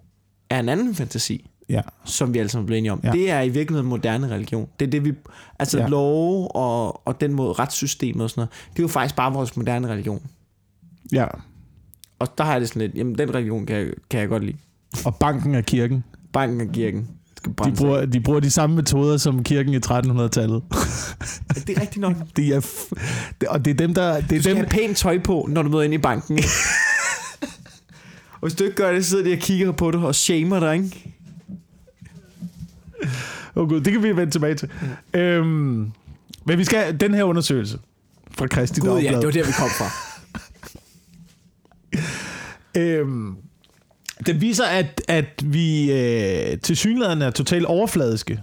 [SPEAKER 2] er en anden fantasi,
[SPEAKER 1] Ja.
[SPEAKER 2] som vi alle sammen er blevet enige om.
[SPEAKER 1] Ja.
[SPEAKER 2] Ja. Det er i virkeligheden moderne religion. Det er det, vi... Altså
[SPEAKER 1] Ja.
[SPEAKER 2] ja. lov og, og den måde retssystemet og sådan noget, det er jo faktisk bare vores moderne religion.
[SPEAKER 1] Ja.
[SPEAKER 2] Og der har jeg det sådan lidt, jamen den religion kan jeg, kan jeg godt lide.
[SPEAKER 1] Og banken er kirken.
[SPEAKER 2] Banken og kirken skal
[SPEAKER 1] De
[SPEAKER 2] brænde sig.
[SPEAKER 1] bruger, de bruger de samme metoder som kirken i 1300-tallet.
[SPEAKER 2] Det er rigtigt nok. Du
[SPEAKER 1] De er f- og det er dem, der... Det er
[SPEAKER 2] skal
[SPEAKER 1] dem,
[SPEAKER 2] have pænt tøj på, når du møder ind i banken. og hvis du ikke gør det, så sidder de og kigger på dig og shamer dig, ikke?
[SPEAKER 1] oh Gud, det kan vi vende tilbage til.
[SPEAKER 2] Mm.
[SPEAKER 1] Øhm, men vi skal... Den her undersøgelse fra Kristi
[SPEAKER 2] Gud, ja,
[SPEAKER 1] Dagblad.
[SPEAKER 2] det var der, vi kom fra.
[SPEAKER 1] Øhm, den viser, at, at vi øh, til synligheden er totalt overfladiske,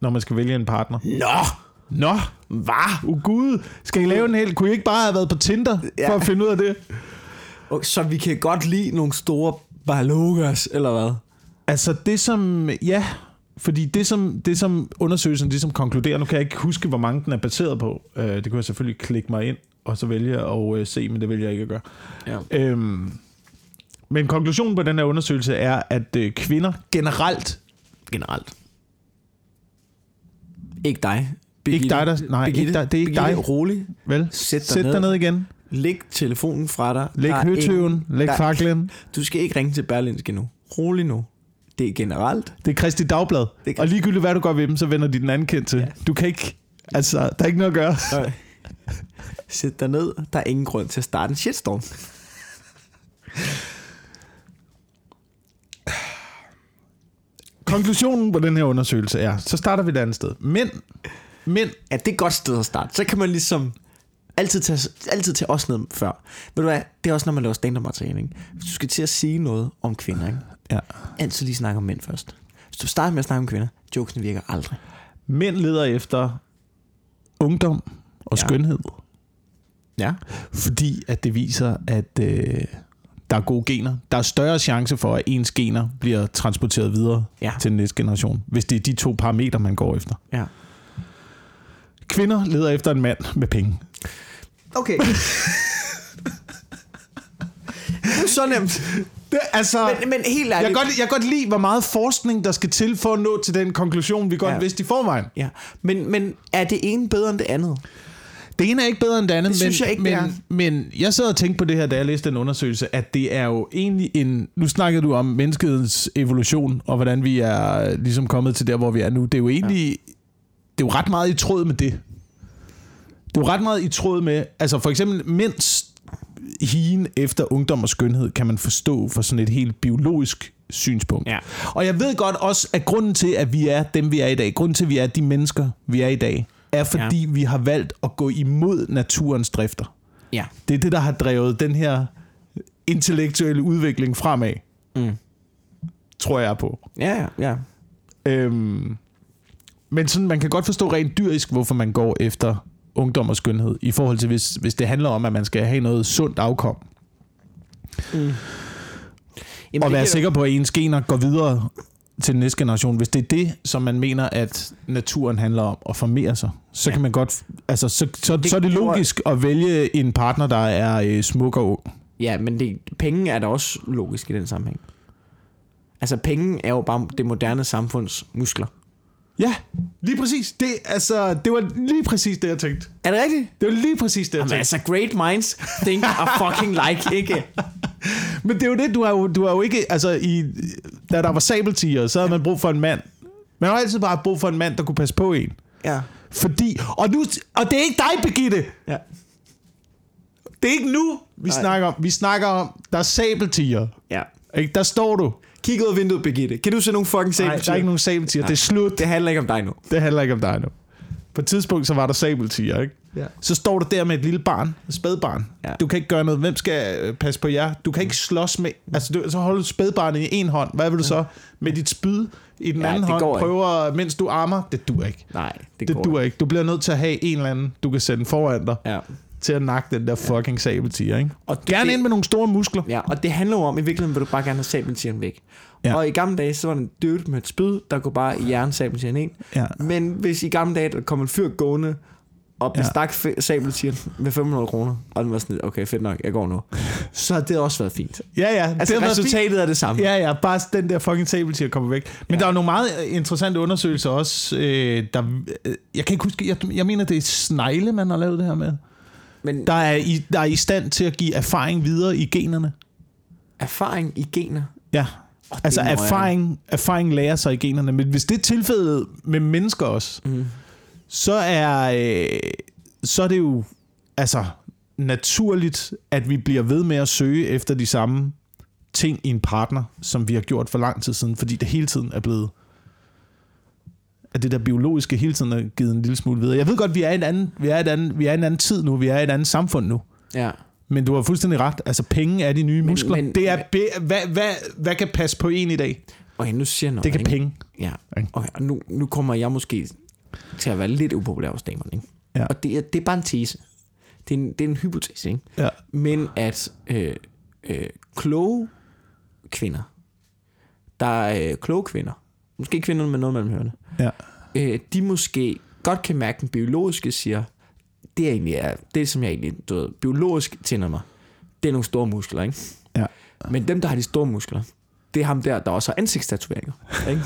[SPEAKER 1] når man skal vælge en partner.
[SPEAKER 2] Nå,
[SPEAKER 1] Nå,
[SPEAKER 2] hvad?
[SPEAKER 1] oh Gud, skal I lave en hel? Kunne I ikke bare have været på Tinder ja.
[SPEAKER 2] Ja.
[SPEAKER 1] for at finde ud af det?
[SPEAKER 2] Okay, så vi kan godt lide nogle store balogas, eller hvad?
[SPEAKER 1] Altså det som, ja, fordi det som, det som undersøgelsen ligesom konkluderer, nu kan jeg ikke huske, hvor mange den er baseret på. Øh, det kunne jeg selvfølgelig klikke mig ind, og så vælge at øh, se, men det vælger jeg ikke at gøre.
[SPEAKER 2] Ja.
[SPEAKER 1] Øhm, men konklusionen på den her undersøgelse er, at øh, kvinder generelt,
[SPEAKER 2] Generelt. Ikke dig. Birgitte.
[SPEAKER 1] Ikke dig, der- nej, ikke dig- det er ikke
[SPEAKER 2] Birgitte,
[SPEAKER 1] dig.
[SPEAKER 2] rolig.
[SPEAKER 1] vel,
[SPEAKER 2] Sæt dig
[SPEAKER 1] sæt dig
[SPEAKER 2] ned.
[SPEAKER 1] ned igen,
[SPEAKER 2] Læg telefonen fra dig.
[SPEAKER 1] læg
[SPEAKER 2] Der er
[SPEAKER 1] høtøven,
[SPEAKER 2] ingen-
[SPEAKER 1] læg
[SPEAKER 2] der-
[SPEAKER 1] faklen.
[SPEAKER 2] Du skal ikke ringe til Berlinske nu. Rolig nu. Det er generelt.
[SPEAKER 1] Det er Kristi Dagblad,
[SPEAKER 2] Det kan-
[SPEAKER 1] og ligegyldigt hvad du gør ved dem, så vender de den anden kendt til.
[SPEAKER 2] Ja.
[SPEAKER 1] Du kan ikke, altså, der er ikke noget at gøre.
[SPEAKER 2] Øh. Sæt dig ned. Der er ingen grund til at starte en shitstorm.
[SPEAKER 1] Konklusionen på den her undersøgelse er, så starter vi et andet sted. Mænd, mænd
[SPEAKER 2] Ja, det er et godt sted at starte. Så kan man ligesom altid tage, altid tage os ned før. Ved du hvad, det er også, når man laver stand-up materiale. ikke? Hvis du skal til at sige noget om kvinder, ikke?
[SPEAKER 1] Ja.
[SPEAKER 2] altid lige snakke om mænd først. Hvis du starter med at snakke om kvinder, jokesen virker aldrig.
[SPEAKER 1] Mænd leder efter ungdom og ja.
[SPEAKER 2] Ja.
[SPEAKER 1] skønhed,
[SPEAKER 2] Ja.
[SPEAKER 1] fordi at det viser, at øh, der er gode gener. Der er større chance for, at ens gener bliver transporteret videre
[SPEAKER 2] Ja.
[SPEAKER 1] til den næste generation, hvis det er de to parametre, man går efter.
[SPEAKER 2] ja.
[SPEAKER 1] Kvinder leder efter en mand med penge.
[SPEAKER 2] Okay. det er jo så nemt.
[SPEAKER 1] Det, altså,
[SPEAKER 2] Men, men helt
[SPEAKER 1] jeg,
[SPEAKER 2] ærligt.
[SPEAKER 1] kan godt, jeg kan godt lide, hvor meget forskning, der skal til for at nå til den konklusion, vi godt
[SPEAKER 2] Ja.
[SPEAKER 1] vidste i forvejen.
[SPEAKER 2] Ja. Men, men er det ene bedre end det andet?
[SPEAKER 1] Det ene er ikke bedre end det andet,
[SPEAKER 2] Det
[SPEAKER 1] men,
[SPEAKER 2] synes jeg ikke,
[SPEAKER 1] men,
[SPEAKER 2] det er.
[SPEAKER 1] men jeg sad og tænkte på det her, da jeg læste den undersøgelse, at det er jo egentlig en... Nu snakkede du om menneskets evolution, og hvordan vi er øh, ligesom kommet til der, hvor vi er nu. Det er jo egentlig... Ja. Det er jo ret meget i tråd med det. Det er jo ret meget i tråd med... Altså for eksempel, mens higen efter ungdom og skønhed, kan man forstå fra sådan et helt biologisk synspunkt.
[SPEAKER 2] Ja.
[SPEAKER 1] Og jeg ved godt også, at grunden til, at vi er dem, vi er i dag, grunden til, at vi er de mennesker, vi er i dag, er fordi ja. vi har valgt at gå imod naturens drifter.
[SPEAKER 2] Ja.
[SPEAKER 1] Det er det, der har drevet den her intellektuelle udvikling fremad.
[SPEAKER 2] Mm.
[SPEAKER 1] Tror jeg på.
[SPEAKER 2] Ja, ja, ja.
[SPEAKER 1] Øhm, men sådan, man kan godt forstå rent dyrisk, hvorfor man går efter ungdom og skønhed, i forhold til, hvis, hvis det handler om, at man skal have noget sundt afkom,
[SPEAKER 2] Jamen,
[SPEAKER 1] og
[SPEAKER 2] det
[SPEAKER 1] være
[SPEAKER 2] giver-
[SPEAKER 1] sikker på, at ens gener går videre til den næste generation. Hvis det er det, som man mener, at naturen handler om at formere sig, så ja.
[SPEAKER 2] Ja.
[SPEAKER 1] kan man godt... Altså, så, så, det,
[SPEAKER 2] Det
[SPEAKER 1] så er det
[SPEAKER 2] gjorde-
[SPEAKER 1] logisk at vælge en partner, der er øh, smuk og ung.
[SPEAKER 2] Ja, men det, penge er da også logisk i den sammenhæng. Altså, penge er jo bare det moderne samfunds muskler.
[SPEAKER 1] Ja, lige præcis. Det, altså, det var lige præcis det, jeg tænkte.
[SPEAKER 2] Er det rigtigt?
[SPEAKER 1] Det var lige præcis det, jeg
[SPEAKER 2] Jamen, altså, great minds think are fucking like, ikke?
[SPEAKER 1] Men det er jo det, du har jo, du har jo ikke... Altså, i, da der var sabeltiger, så havde man brug for en mand. Man har altid bare haft brug for en mand, der kunne passe på en.
[SPEAKER 2] Ja.
[SPEAKER 1] Fordi... Og, nu, og det er ikke dig, Birgitte!
[SPEAKER 2] ja.
[SPEAKER 1] Det er ikke nu, vi
[SPEAKER 2] Nej.
[SPEAKER 1] snakker om. Vi snakker om, der er sabeltiger.
[SPEAKER 2] Ja.
[SPEAKER 1] Ikke? Der står du.
[SPEAKER 2] Kig ud af vinduet, Birgitte. Kan du se nogle fucking
[SPEAKER 1] Nej, der er ikke nogen sabeltiger. Det er slut.
[SPEAKER 2] Det handler ikke om dig nu.
[SPEAKER 1] Det handler ikke om dig nu. På et tidspunkt, så var der sabeltiger, ikke?
[SPEAKER 2] Ja.
[SPEAKER 1] Så står du der med et lille barn, et spædbarn.
[SPEAKER 2] Ja.
[SPEAKER 1] Du kan ikke gøre noget. Hvem skal øh, passe på jer? Du kan ikke slås med... Altså, du, så holder du spædbarnet i en hånd. Hvad vil du så med dit spyd i den
[SPEAKER 2] Ja,
[SPEAKER 1] anden
[SPEAKER 2] det går
[SPEAKER 1] hånd?
[SPEAKER 2] ikke.
[SPEAKER 1] Prøver, mens du armer. Det dur ikke.
[SPEAKER 2] Nej, det,
[SPEAKER 1] Det,
[SPEAKER 2] går
[SPEAKER 1] det dur ikke. Du bliver nødt til at have en eller anden, du kan sende foran dig,
[SPEAKER 2] ikke. Ja.
[SPEAKER 1] til at nakke den der fucking sabeltiger, ikke?
[SPEAKER 2] Og det,
[SPEAKER 1] Gerne
[SPEAKER 2] det,
[SPEAKER 1] ind med nogle store muskler.
[SPEAKER 2] Ja, og det handler jo om, i virkeligheden vil du bare gerne have sabeltigeren væk.
[SPEAKER 1] Ja.
[SPEAKER 2] Ja. Og i gamle dage, så var der en dude med et spyd, der kunne bare jern sabeltigeren ind.
[SPEAKER 1] Ja.
[SPEAKER 2] Men hvis i gamle dage, der kom en fyr gående, og
[SPEAKER 1] Ja.
[SPEAKER 2] bestak ja. sabeltigeren med 500 kroner, og den var sådan lidt, okay, fedt nok, jeg går nu. Så har det også været fint.
[SPEAKER 1] Ja, ja.
[SPEAKER 2] Altså,
[SPEAKER 1] har
[SPEAKER 2] det
[SPEAKER 1] været fint.
[SPEAKER 2] resultatet er det samme.
[SPEAKER 1] Ja, ja, bare den der fucking sabeltiger kommer væk. Men ja. der er jo nogle meget interessante undersøgelser også. Øh, der, øh, jeg kan ikke huske, jeg, jeg mener, det er snegle, man har lavet det her med.
[SPEAKER 2] Men der
[SPEAKER 1] Der
[SPEAKER 2] er
[SPEAKER 1] er, i, der er i stand til at give erfaring videre i generne.
[SPEAKER 2] erfaring i gener.
[SPEAKER 1] Ja.
[SPEAKER 2] Oh,
[SPEAKER 1] Altså erfaring, erfaring lærer sig i generne. Men hvis det er tilfældet med mennesker også, mm. så, er, øh, så er det jo altså, naturligt, at vi bliver ved med at søge efter de samme ting i en partner, som vi har gjort for lang tid siden, fordi det hele tiden er blevet at det der biologiske hele tiden er givet en lille smule videre. Jeg ved godt, vi er i en anden, vi er i en anden, vi er i en anden tid nu, vi er i et andet samfund nu.
[SPEAKER 2] Ja.
[SPEAKER 1] Men du har fuldstændig ret. Altså, penge er de nye muskler. Men,
[SPEAKER 2] men-
[SPEAKER 1] det er be- hvad, hvad, hvad kan passe på en i dag?
[SPEAKER 2] Okay, nu siger jeg noget,
[SPEAKER 1] Det kan
[SPEAKER 2] ikke?
[SPEAKER 1] penge.
[SPEAKER 2] Ja,
[SPEAKER 1] Ikke?
[SPEAKER 2] okay, og nu, nu kommer jeg måske til at være lidt upopulær hos damerne, ikke?
[SPEAKER 1] Ja.
[SPEAKER 2] Og det er, det er bare en tese. Det er en, det er en hypotese, ikke?
[SPEAKER 1] Ja.
[SPEAKER 2] Men at øh, øh, kloge kvinder, der er øh, kloge kvinder, måske kvinder med noget mellem ørerne,
[SPEAKER 1] Ja.
[SPEAKER 2] øh, de måske godt kan mærke, at den biologiske siger, det er egentlig er, det, som jeg egentlig du ved, biologisk tænder mig, det er nogle store muskler, ikke?
[SPEAKER 1] Ja.
[SPEAKER 2] Men dem, der har de store muskler, det er ham der, der også har ansigtstatoveringer. Ikke?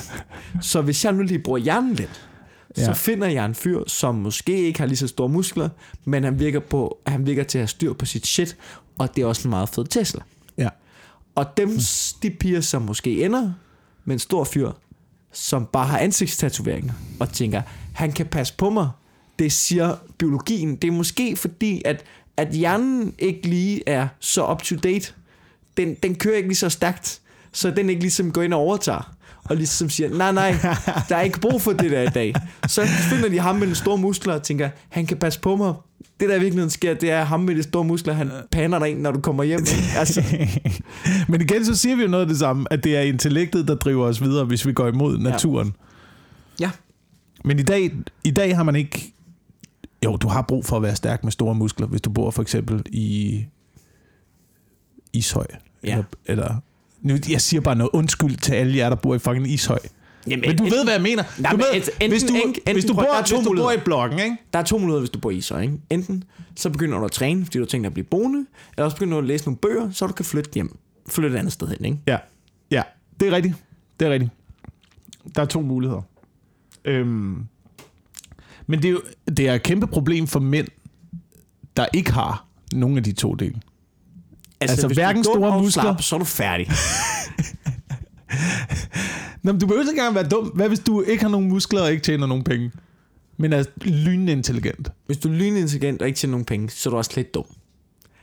[SPEAKER 2] så hvis jeg nu lige bruger hjernen lidt, ja.
[SPEAKER 1] Ja.
[SPEAKER 2] så finder jeg en fyr, som måske ikke har lige så store muskler, men han virker, på, han virker til at have styr på sit shit, og det er også en meget fed Tesla.
[SPEAKER 1] ja.
[SPEAKER 2] Og dem, de piger, som måske ender med en stor fyr, som bare har ansigtstatoveringer, og tænker, han kan passe på mig, det siger biologien. Det er måske fordi, at, at hjernen ikke lige er så up-to-date. Den, den kører ikke lige så stærkt, så den ikke ligesom går ind og overtager. Og ligesom siger, nej, nej, der er ikke brug for det der i dag. Så finder de ham med den store muskler og tænker, han kan passe på mig. Det der i virkeligheden sker, det er at ham med de store muskler, han paner dig ind, når du kommer hjem. Altså,
[SPEAKER 1] Men igen, så siger vi jo noget af det samme, at det er intellektet, der driver os videre, hvis vi går imod naturen. Ja.
[SPEAKER 2] ja.
[SPEAKER 1] Men i dag, i dag har man ikke... Jo, du har brug for at være stærk med store muskler, hvis du bor for eksempel i Ishøj.
[SPEAKER 2] Ja.
[SPEAKER 1] Eller, eller, nu, jeg siger bare noget undskyld til alle jer, der bor i fucking Ishøj.
[SPEAKER 2] Jamen,
[SPEAKER 1] Men du
[SPEAKER 2] enten-
[SPEAKER 1] ved, hvad jeg mener. Du
[SPEAKER 2] Nej, men
[SPEAKER 1] ved,
[SPEAKER 2] et- enten-
[SPEAKER 1] hvis du,
[SPEAKER 2] enten-
[SPEAKER 1] hvis du
[SPEAKER 2] prøv-
[SPEAKER 1] bor,
[SPEAKER 2] der er to
[SPEAKER 1] hvis du bor i
[SPEAKER 2] muligheder.
[SPEAKER 1] blokken, ikke?
[SPEAKER 2] Der er to muligheder, hvis du bor i Ishøj. Ikke? Enten så begynder du at træne, fordi du tænker at blive boende, eller også begynder du at læse nogle bøger, så du kan flytte hjem. Flytte et andet sted hen, ikke?
[SPEAKER 1] Ja, ja, det er rigtigt. Det er rigtigt. Der er to muligheder. Øhm. Men det er jo det er et kæmpe problem for mænd, der ikke har nogen af de to dele. Altså,
[SPEAKER 2] hvis du er
[SPEAKER 1] hverken
[SPEAKER 2] dum
[SPEAKER 1] store
[SPEAKER 2] og
[SPEAKER 1] muskler-
[SPEAKER 2] Slap, så er du færdig.
[SPEAKER 1] Nå, men du behøver ikke engang være dum. Hvad hvis du ikke har nogen muskler og ikke tjener nogen penge? Men er lynende intelligent.
[SPEAKER 2] Hvis du er lynintelligent og ikke tjener nogen penge, så er du også lidt dum.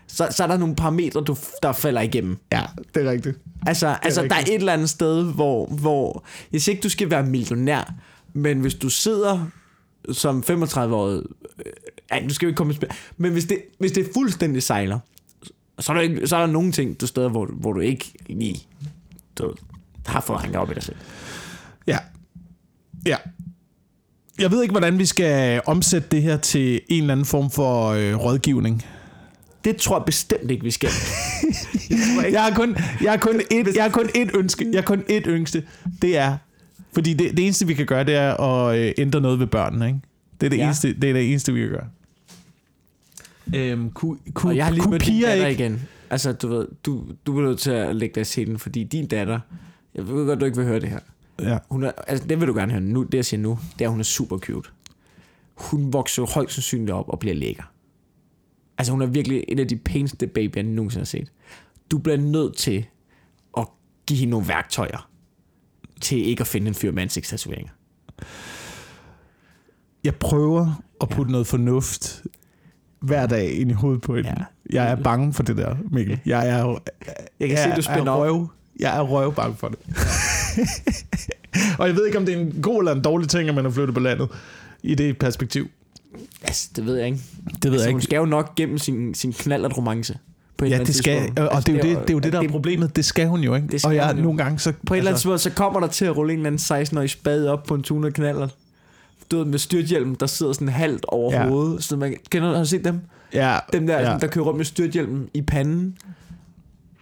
[SPEAKER 2] Så, så er der nogle parametre, du, der falder igennem.
[SPEAKER 1] Ja, det er rigtigt.
[SPEAKER 2] Altså, altså der er et eller andet sted, hvor, hvor... Jeg siger ikke, du skal være millionær, men hvis du sidder som 35-årig... Øh, ej, du skal jo ikke komme i spil. Men hvis det, hvis det fuldstændig sejler, så er der, ikke, så er der nogle ting, du steder, hvor, hvor du ikke lige du, ved, har fået hængt op i dig selv.
[SPEAKER 1] Ja. Ja. Jeg ved ikke, hvordan vi skal omsætte det her til en eller anden form for øh, rådgivning.
[SPEAKER 2] Det tror jeg bestemt ikke, vi skal. jeg tror ikke.
[SPEAKER 1] Jeg har kun, jeg har kun, et, jeg har kun et ønske. Jeg har kun et ønske. Det er, fordi det, det eneste, vi kan gøre, det er at øh, ændre noget ved børnene. Ikke? Det, er det,
[SPEAKER 2] Ja.
[SPEAKER 1] eneste, det er det eneste, vi kan gøre. Øhm, kunne, kunne,
[SPEAKER 2] Og jeg har lige
[SPEAKER 1] kunne
[SPEAKER 2] mødt din
[SPEAKER 1] piger
[SPEAKER 2] datter
[SPEAKER 1] ikke...
[SPEAKER 2] ikke? igen. Altså, du ved, du, du bliver nødt til at lægge dig i selen, fordi din datter... Jeg ved godt, du ikke vil høre det her.
[SPEAKER 1] Ja.
[SPEAKER 2] Hun er, altså, det vil du gerne høre nu. Det jeg siger nu, det er, at hun er super cute. Hun vokser jo højst sandsynligt op og bliver lækker. Altså hun er virkelig en af de pæneste babyer, jeg nogensinde har set. du bliver nødt til at give hende nogle værktøjer til ikke at finde en fyr med ansigtstatueringer.
[SPEAKER 1] Jeg prøver at putte ja. noget fornuft hver dag ind i hovedet på hende.
[SPEAKER 2] Ja.
[SPEAKER 1] Ja. Jeg er bange for det der, Mikkel. Jeg er,
[SPEAKER 2] Jeg kan se, du spænder op.
[SPEAKER 1] er røv, Jeg er røvbange for det. og jeg ved ikke, om det er en god eller en dårlig ting, at man er flyttet på landet i det perspektiv.
[SPEAKER 2] Altså, det ved jeg ikke.
[SPEAKER 1] Det ved
[SPEAKER 2] altså,
[SPEAKER 1] jeg
[SPEAKER 2] Hun
[SPEAKER 1] ikke.
[SPEAKER 2] skal jo nok gennem sin, sin knallert romance. På et
[SPEAKER 1] Ja,
[SPEAKER 2] eller andet
[SPEAKER 1] det skal,
[SPEAKER 2] tidspunkt. Altså,
[SPEAKER 1] og, og det, er jo Altså, det, det er jo det, der er
[SPEAKER 2] det-
[SPEAKER 1] problemet. Det skal hun jo, ikke?
[SPEAKER 2] Det skal
[SPEAKER 1] og jeg
[SPEAKER 2] hun jo.
[SPEAKER 1] nogle gange så...
[SPEAKER 2] På et eller andet tidspunkt, så kommer der til at rulle en eller anden 16-årig spade op på en tunet knaller. Du ved, med styrthjelmen, der sidder sådan halvt over ja.
[SPEAKER 1] Ja.
[SPEAKER 2] hovedet. Så man, kender, har du set dem?
[SPEAKER 1] ja,
[SPEAKER 2] Dem der, ja.
[SPEAKER 1] ja.
[SPEAKER 2] der kører rundt med styrthjelmen i panden.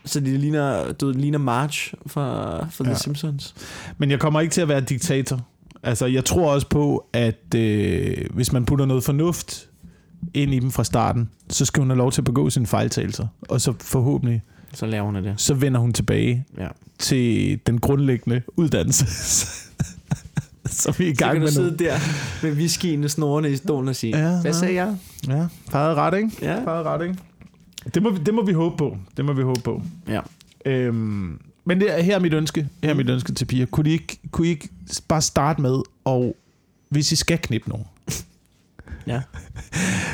[SPEAKER 2] Så de ligner, du ved, ligner March fra, fra ja. The
[SPEAKER 1] Ja.
[SPEAKER 2] Simpsons.
[SPEAKER 1] Men jeg kommer ikke til at være diktator. Altså, jeg tror også på, at øh, hvis man putter noget fornuft ind i dem fra starten, så skal hun have lov til at begå sine fejltagelser. Og så forhåbentlig,
[SPEAKER 2] Så laver hun af det.
[SPEAKER 1] så vender hun tilbage
[SPEAKER 2] Ja.
[SPEAKER 1] til den grundlæggende uddannelse. så vi er i
[SPEAKER 2] Så
[SPEAKER 1] gang
[SPEAKER 2] kan du
[SPEAKER 1] med
[SPEAKER 2] sidde
[SPEAKER 1] noget.
[SPEAKER 2] der med whiskyen snorene i stolen og sige, ja,
[SPEAKER 1] Ja,
[SPEAKER 2] hvad
[SPEAKER 1] ja.
[SPEAKER 2] sagde jeg?
[SPEAKER 1] Ja, farede ret, ikke?
[SPEAKER 2] Ja.
[SPEAKER 1] Farede ret, ikke? Det må, vi- det må vi håbe på. Det må vi håbe på.
[SPEAKER 2] ja.
[SPEAKER 1] Øhm, men det er, her er mit ønske. Her er
[SPEAKER 2] Mm.
[SPEAKER 1] mit ønske til piger. Kunne I ikke, kunne I ikke bare starte med, og hvis I skal knippe nogen,
[SPEAKER 2] Ja.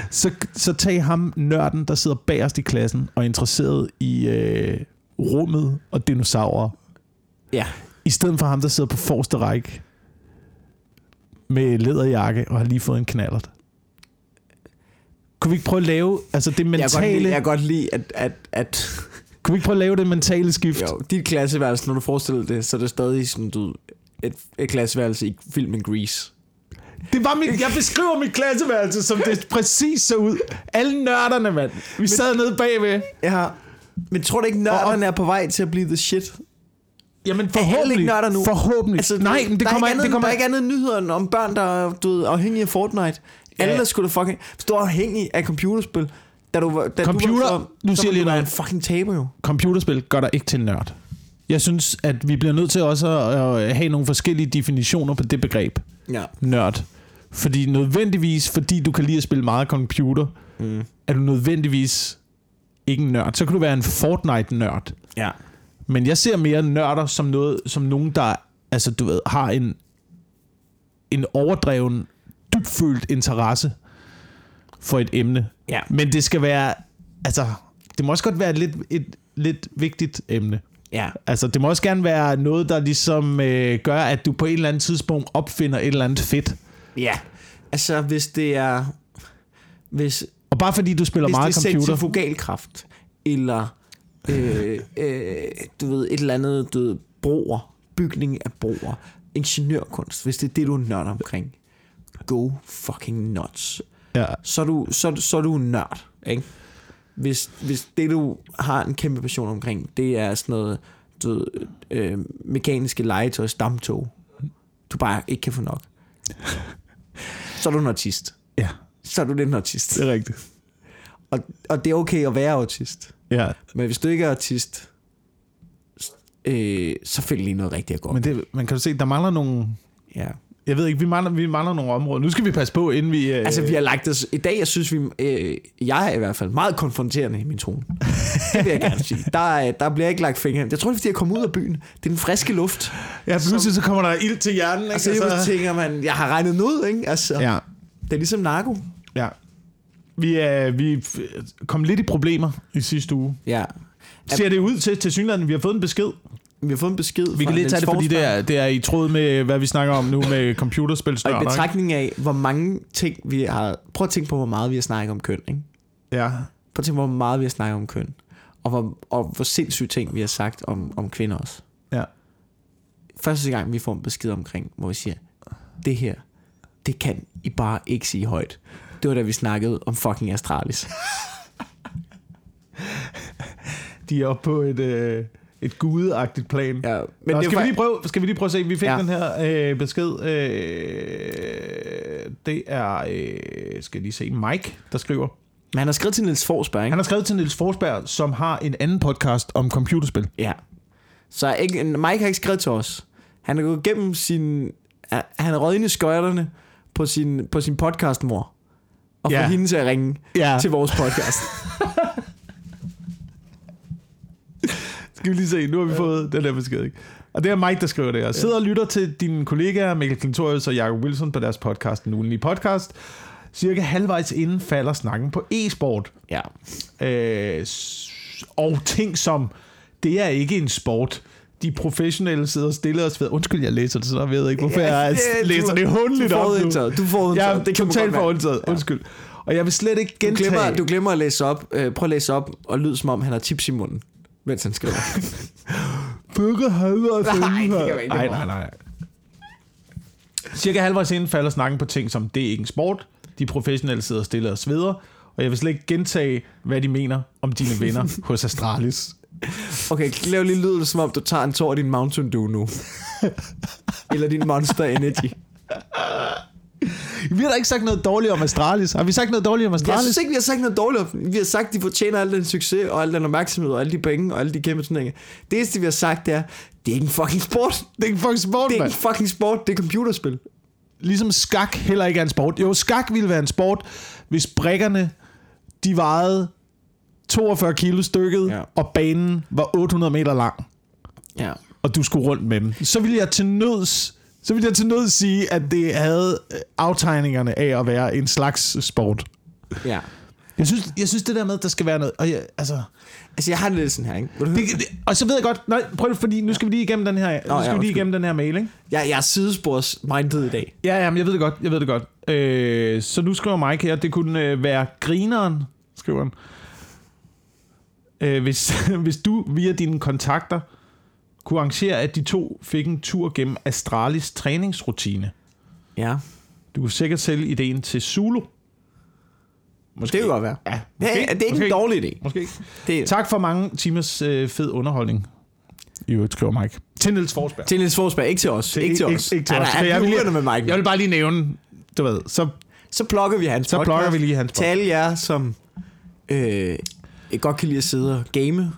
[SPEAKER 1] så, så tag ham, nørden, der sidder bagerst i klassen og er interesseret i øh, rummet og dinosaurer,
[SPEAKER 2] ja.
[SPEAKER 1] i stedet for ham, der sidder på forreste række med læderjakke og har lige fået en knallert. Kunne vi ikke prøve at lave altså det
[SPEAKER 2] Jeg kan godt
[SPEAKER 1] mentale,
[SPEAKER 2] lide, jeg kan godt lide at, at, at
[SPEAKER 1] kunne vi ikke prøve at lave det mentale skift?
[SPEAKER 2] Jo, dit klasseværelse, når du forestiller det, så er det stadig sådan, du, et, et klasseværelse i filmen Grease.
[SPEAKER 1] Det var mit, jeg beskriver mit klasseværelse, som det præcis så ud. Alle nørderne, mand. Vi sad nede bagved.
[SPEAKER 2] Ja. Men tror du ikke, nørderne er på vej til at blive the shit?
[SPEAKER 1] Jamen
[SPEAKER 2] heller
[SPEAKER 1] forhåbentlig.
[SPEAKER 2] ikke nørder nu.
[SPEAKER 1] Forhåbentlig.
[SPEAKER 2] Altså,
[SPEAKER 1] Altså, Nej, men det
[SPEAKER 2] der
[SPEAKER 1] kommer
[SPEAKER 2] er
[SPEAKER 1] ikke.
[SPEAKER 2] ikke
[SPEAKER 1] Det
[SPEAKER 2] andet,
[SPEAKER 1] kommer
[SPEAKER 2] der er
[SPEAKER 1] ikke.
[SPEAKER 2] ikke andet nyheder om børn, der er du ved, afhængige af Fortnite. Ja. Alle,
[SPEAKER 1] Ja.
[SPEAKER 2] der skulle da fucking... Hvis du er afhængig af computerspil, da du, var- da du
[SPEAKER 1] Computer-
[SPEAKER 2] var,
[SPEAKER 1] nu
[SPEAKER 2] så
[SPEAKER 1] siger jeg
[SPEAKER 2] ville
[SPEAKER 1] lige
[SPEAKER 2] du være en
[SPEAKER 1] noget.
[SPEAKER 2] fucking taber jo.
[SPEAKER 1] Computerspil gør dig ikke til en nørd. Jeg synes, at vi bliver nødt til også at, at have nogle forskellige definitioner på det begreb.
[SPEAKER 2] Ja.
[SPEAKER 1] Nørd. Fordi nødvendigvis, fordi du kan lide at spille meget computer,
[SPEAKER 2] Mm.
[SPEAKER 1] er du nødvendigvis ikke en nørd. Så kan du være en Fortnite-nørd.
[SPEAKER 2] Ja.
[SPEAKER 1] Men jeg ser mere nørder som, noget, som nogen, der altså, du ved, har en, en overdreven, dybfølt interesse for et emne.
[SPEAKER 2] Ja.
[SPEAKER 1] Men det skal være, altså, det må også godt være et lidt, et lidt vigtigt emne.
[SPEAKER 2] Ja.
[SPEAKER 1] Altså, det må også gerne være noget, der ligesom øh, gør, at du på et eller andet tidspunkt opfinder et eller andet fedt.
[SPEAKER 2] Ja. Altså, hvis det er... Hvis,
[SPEAKER 1] Og bare fordi du spiller meget
[SPEAKER 2] Hvis det er
[SPEAKER 1] computer...
[SPEAKER 2] centrifugalkraft, eller øh, øh, du ved, et eller andet, du ved, broer, bygning af broer, ingeniørkunst, hvis det er det, du er nørd omkring, go fucking nuts.
[SPEAKER 1] Ja,
[SPEAKER 2] Så er du, så, så er du en nørd, ikke? Hvis, hvis det, du har en kæmpe passion omkring, det er sådan noget, du ved, øh, mekaniske legetøj, stamtog, du bare ikke kan få nok, så er du en artist.
[SPEAKER 1] ja,
[SPEAKER 2] Så er du lidt en artist.
[SPEAKER 1] det er rigtigt.
[SPEAKER 2] Og, og det er okay at være autist.
[SPEAKER 1] Ja,
[SPEAKER 2] Men hvis du ikke er autist, s- øh, så find lige noget rigtigt at gå. Men,
[SPEAKER 1] men, det, man kan du se, der mangler nogle...
[SPEAKER 2] ja.
[SPEAKER 1] Jeg ved ikke, vi mangler, vi mangler nogle områder. Nu skal vi passe på, inden vi... Øh,
[SPEAKER 2] Altså, vi har lagt os... I dag, jeg synes vi... Øh, jeg er i hvert fald meget konfronterende i min tone. Det vil jeg gerne sige. Der, er- der bliver ikke lagt fingre. Jeg tror, det er, fordi jeg kom ud af byen. Det er den friske luft.
[SPEAKER 1] Ja, pludselig så kommer der ild til hjernen, ikke? Altså-
[SPEAKER 2] Og så, tænker man, jeg har regnet den ud, ikke? Altså, ja.
[SPEAKER 1] ja,
[SPEAKER 2] Det er ligesom narko.
[SPEAKER 1] ja. Vi, er, vi f- kom lidt i problemer i sidste uge.
[SPEAKER 2] Ja.
[SPEAKER 1] Ser det ud til, til synligheden, vi har fået en besked.
[SPEAKER 2] Vi har fået en besked
[SPEAKER 1] Vi
[SPEAKER 2] fra
[SPEAKER 1] kan lige
[SPEAKER 2] Niels
[SPEAKER 1] tage det, fordi det
[SPEAKER 2] Forsberg.
[SPEAKER 1] er, det er i tråd med, hvad vi snakker om nu med
[SPEAKER 2] Og i
[SPEAKER 1] computerspilsnørder. ikke?
[SPEAKER 2] betragtning af, hvor mange ting vi har... Prøv at tænke på, hvor meget vi har snakket om køn, ikke?
[SPEAKER 1] Ja,
[SPEAKER 2] Prøv at tænke, hvor meget vi har snakket om køn. Og hvor, og hvor sindssyge ting, vi har sagt om, om kvinder også.
[SPEAKER 1] ja.
[SPEAKER 2] Første gang, vi får en besked omkring, hvor vi siger, det her, det kan I bare ikke sige højt. Det var da vi snakkede om fucking Astralis.
[SPEAKER 1] De er oppe på et, øh, et gudeagtigt plan.
[SPEAKER 2] Ja, men
[SPEAKER 1] Men Nå,
[SPEAKER 2] det
[SPEAKER 1] skal,
[SPEAKER 2] var,
[SPEAKER 1] vi lige prøve, skal vi lige prøve at se, vi fik
[SPEAKER 2] Ja.
[SPEAKER 1] ja. den her øh, besked. Øh, det er, øh, skal jeg lige se, Mike, der skriver.
[SPEAKER 2] Men han har skrevet til Niels Forsberg, ikke?
[SPEAKER 1] Han har skrevet til Niels Forsberg, som har en anden podcast om computerspil.
[SPEAKER 2] Ja. Så ikke, Mike har ikke skrevet til os. Han er gået igennem sin... Han er røget ind i skøjterne på sin, på sin podcastmor. Og ja.
[SPEAKER 1] Ja.
[SPEAKER 2] får hende til at ringe
[SPEAKER 1] Ja.
[SPEAKER 2] til vores podcast.
[SPEAKER 1] Skal vi lige se, nu har vi fået den der besked, ikke? Og det er Mike, der skriver det her. Sidder og lytter til dine kollegaer Mikkel Klintorius og Jacob Wilson på deres podcast, Den Ugenlige Podcast. Cirka halvvejs inden falder snakken på e-sport.
[SPEAKER 2] Ja.
[SPEAKER 1] Øh, s- og ting som, det er ikke en sport. De professionelle sidder stille og sveder. Undskyld, jeg læser det, så jeg ved ikke, hvorfor jeg
[SPEAKER 2] Ja, du-
[SPEAKER 1] læser det hundeligt
[SPEAKER 2] du
[SPEAKER 1] op nu.
[SPEAKER 2] forudindtaget. Du forudindtaget.
[SPEAKER 1] Ja, det kan
[SPEAKER 2] man
[SPEAKER 1] totalt
[SPEAKER 2] godt mærke.
[SPEAKER 1] forudindtaget. Undskyld. Og jeg vil slet ikke
[SPEAKER 2] Du
[SPEAKER 1] gentage...
[SPEAKER 2] glemmer, du glemmer at læse op. Øh, prøv at læse op og lyd som om, han har tips i munden, mens han skriver.
[SPEAKER 1] Bøkke hader at
[SPEAKER 2] Nej, det kan
[SPEAKER 1] her.
[SPEAKER 2] jo ikke
[SPEAKER 1] Nej,
[SPEAKER 2] være.
[SPEAKER 1] nej, nej. Cirka halvvejs inden falder snakken på ting som, det er ikke en sport, de professionelle sidder stille og sveder, og jeg vil slet ikke gentage, hvad de mener om dine venner hos Astralis.
[SPEAKER 2] Okay, lav lige lyd, som om du tager en tår af din Mountain Dew nu. Eller din Monster Energy.
[SPEAKER 1] Vi har da ikke sagt noget dårligt om Astralis. Har vi sagt noget dårligt om
[SPEAKER 2] Jeg
[SPEAKER 1] Astralis?
[SPEAKER 2] synes ikke, vi har sagt noget dårligt. Vi har sagt, at de fortjener al den succes, og al den opmærksomhed, og alle de penge, og alle de kæmpe turneringer. Det eneste, vi har sagt, det er, det er ikke en fucking sport.
[SPEAKER 1] Det er ikke fucking sport,
[SPEAKER 2] Det er
[SPEAKER 1] mand.
[SPEAKER 2] ikke en fucking sport, det er computerspil.
[SPEAKER 1] Ligesom skak heller ikke er en sport. Jo, skak ville være en sport, hvis brækkerne, de vejede 42 kilo stykket,
[SPEAKER 2] Ja.
[SPEAKER 1] og banen var 800 meter lang.
[SPEAKER 2] Ja.
[SPEAKER 1] og du skulle rundt med dem, så ville jeg til nøds, så ville jeg til nøds sige, at det havde øh, aftegningerne af at være en slags sport.
[SPEAKER 2] ja.
[SPEAKER 1] Jeg synes, jeg synes det der med, at der skal være noget... Og jeg, altså,
[SPEAKER 2] Altså, jeg har det lidt sådan her, ikke? Vil du
[SPEAKER 1] det,
[SPEAKER 2] høre?
[SPEAKER 1] det, og så ved jeg godt... Nej, prøv lige, fordi nu skal vi lige igennem den her,
[SPEAKER 2] ja,
[SPEAKER 1] nu skal vi lige
[SPEAKER 2] undskyld.
[SPEAKER 1] igennem den her mail, ikke?
[SPEAKER 2] Jeg, jeg er sidespors-minded i dag.
[SPEAKER 1] Ja, ja, men jeg ved det godt, jeg ved det godt. Øh, så nu skriver Mike her, det kunne øh, være grineren, skriver han. Øh, hvis, hvis du via dine kontakter kunne arrangere, at de to fik en tur gennem Astralis træningsrutine.
[SPEAKER 2] Ja.
[SPEAKER 1] Du kunne sikkert sælge ideen til Zulu. Måske.
[SPEAKER 2] Det kan godt være.
[SPEAKER 1] Ja,
[SPEAKER 2] Det
[SPEAKER 1] måske.
[SPEAKER 2] er, det er ikke
[SPEAKER 1] måske.
[SPEAKER 2] en dårlig idé.
[SPEAKER 1] Måske.
[SPEAKER 2] Det er,
[SPEAKER 1] Tak for mange timers øh, fed underholdning. I øvrigt skriver Mike. Til Niels Forsberg.
[SPEAKER 2] Til Niels Forsberg, ikke til os. Ikke, til os.
[SPEAKER 1] Ikke, ikke til os.
[SPEAKER 2] Han
[SPEAKER 1] Så
[SPEAKER 2] er,
[SPEAKER 1] jeg, vil
[SPEAKER 2] han er
[SPEAKER 1] lige,
[SPEAKER 2] med Mike.
[SPEAKER 1] jeg vil bare lige nævne, du ved, så
[SPEAKER 2] Så plukker vi hans
[SPEAKER 1] Så
[SPEAKER 2] podcast.
[SPEAKER 1] plukker vi lige hans
[SPEAKER 2] Til alle jer, som øh, godt kan lide at sidde og game,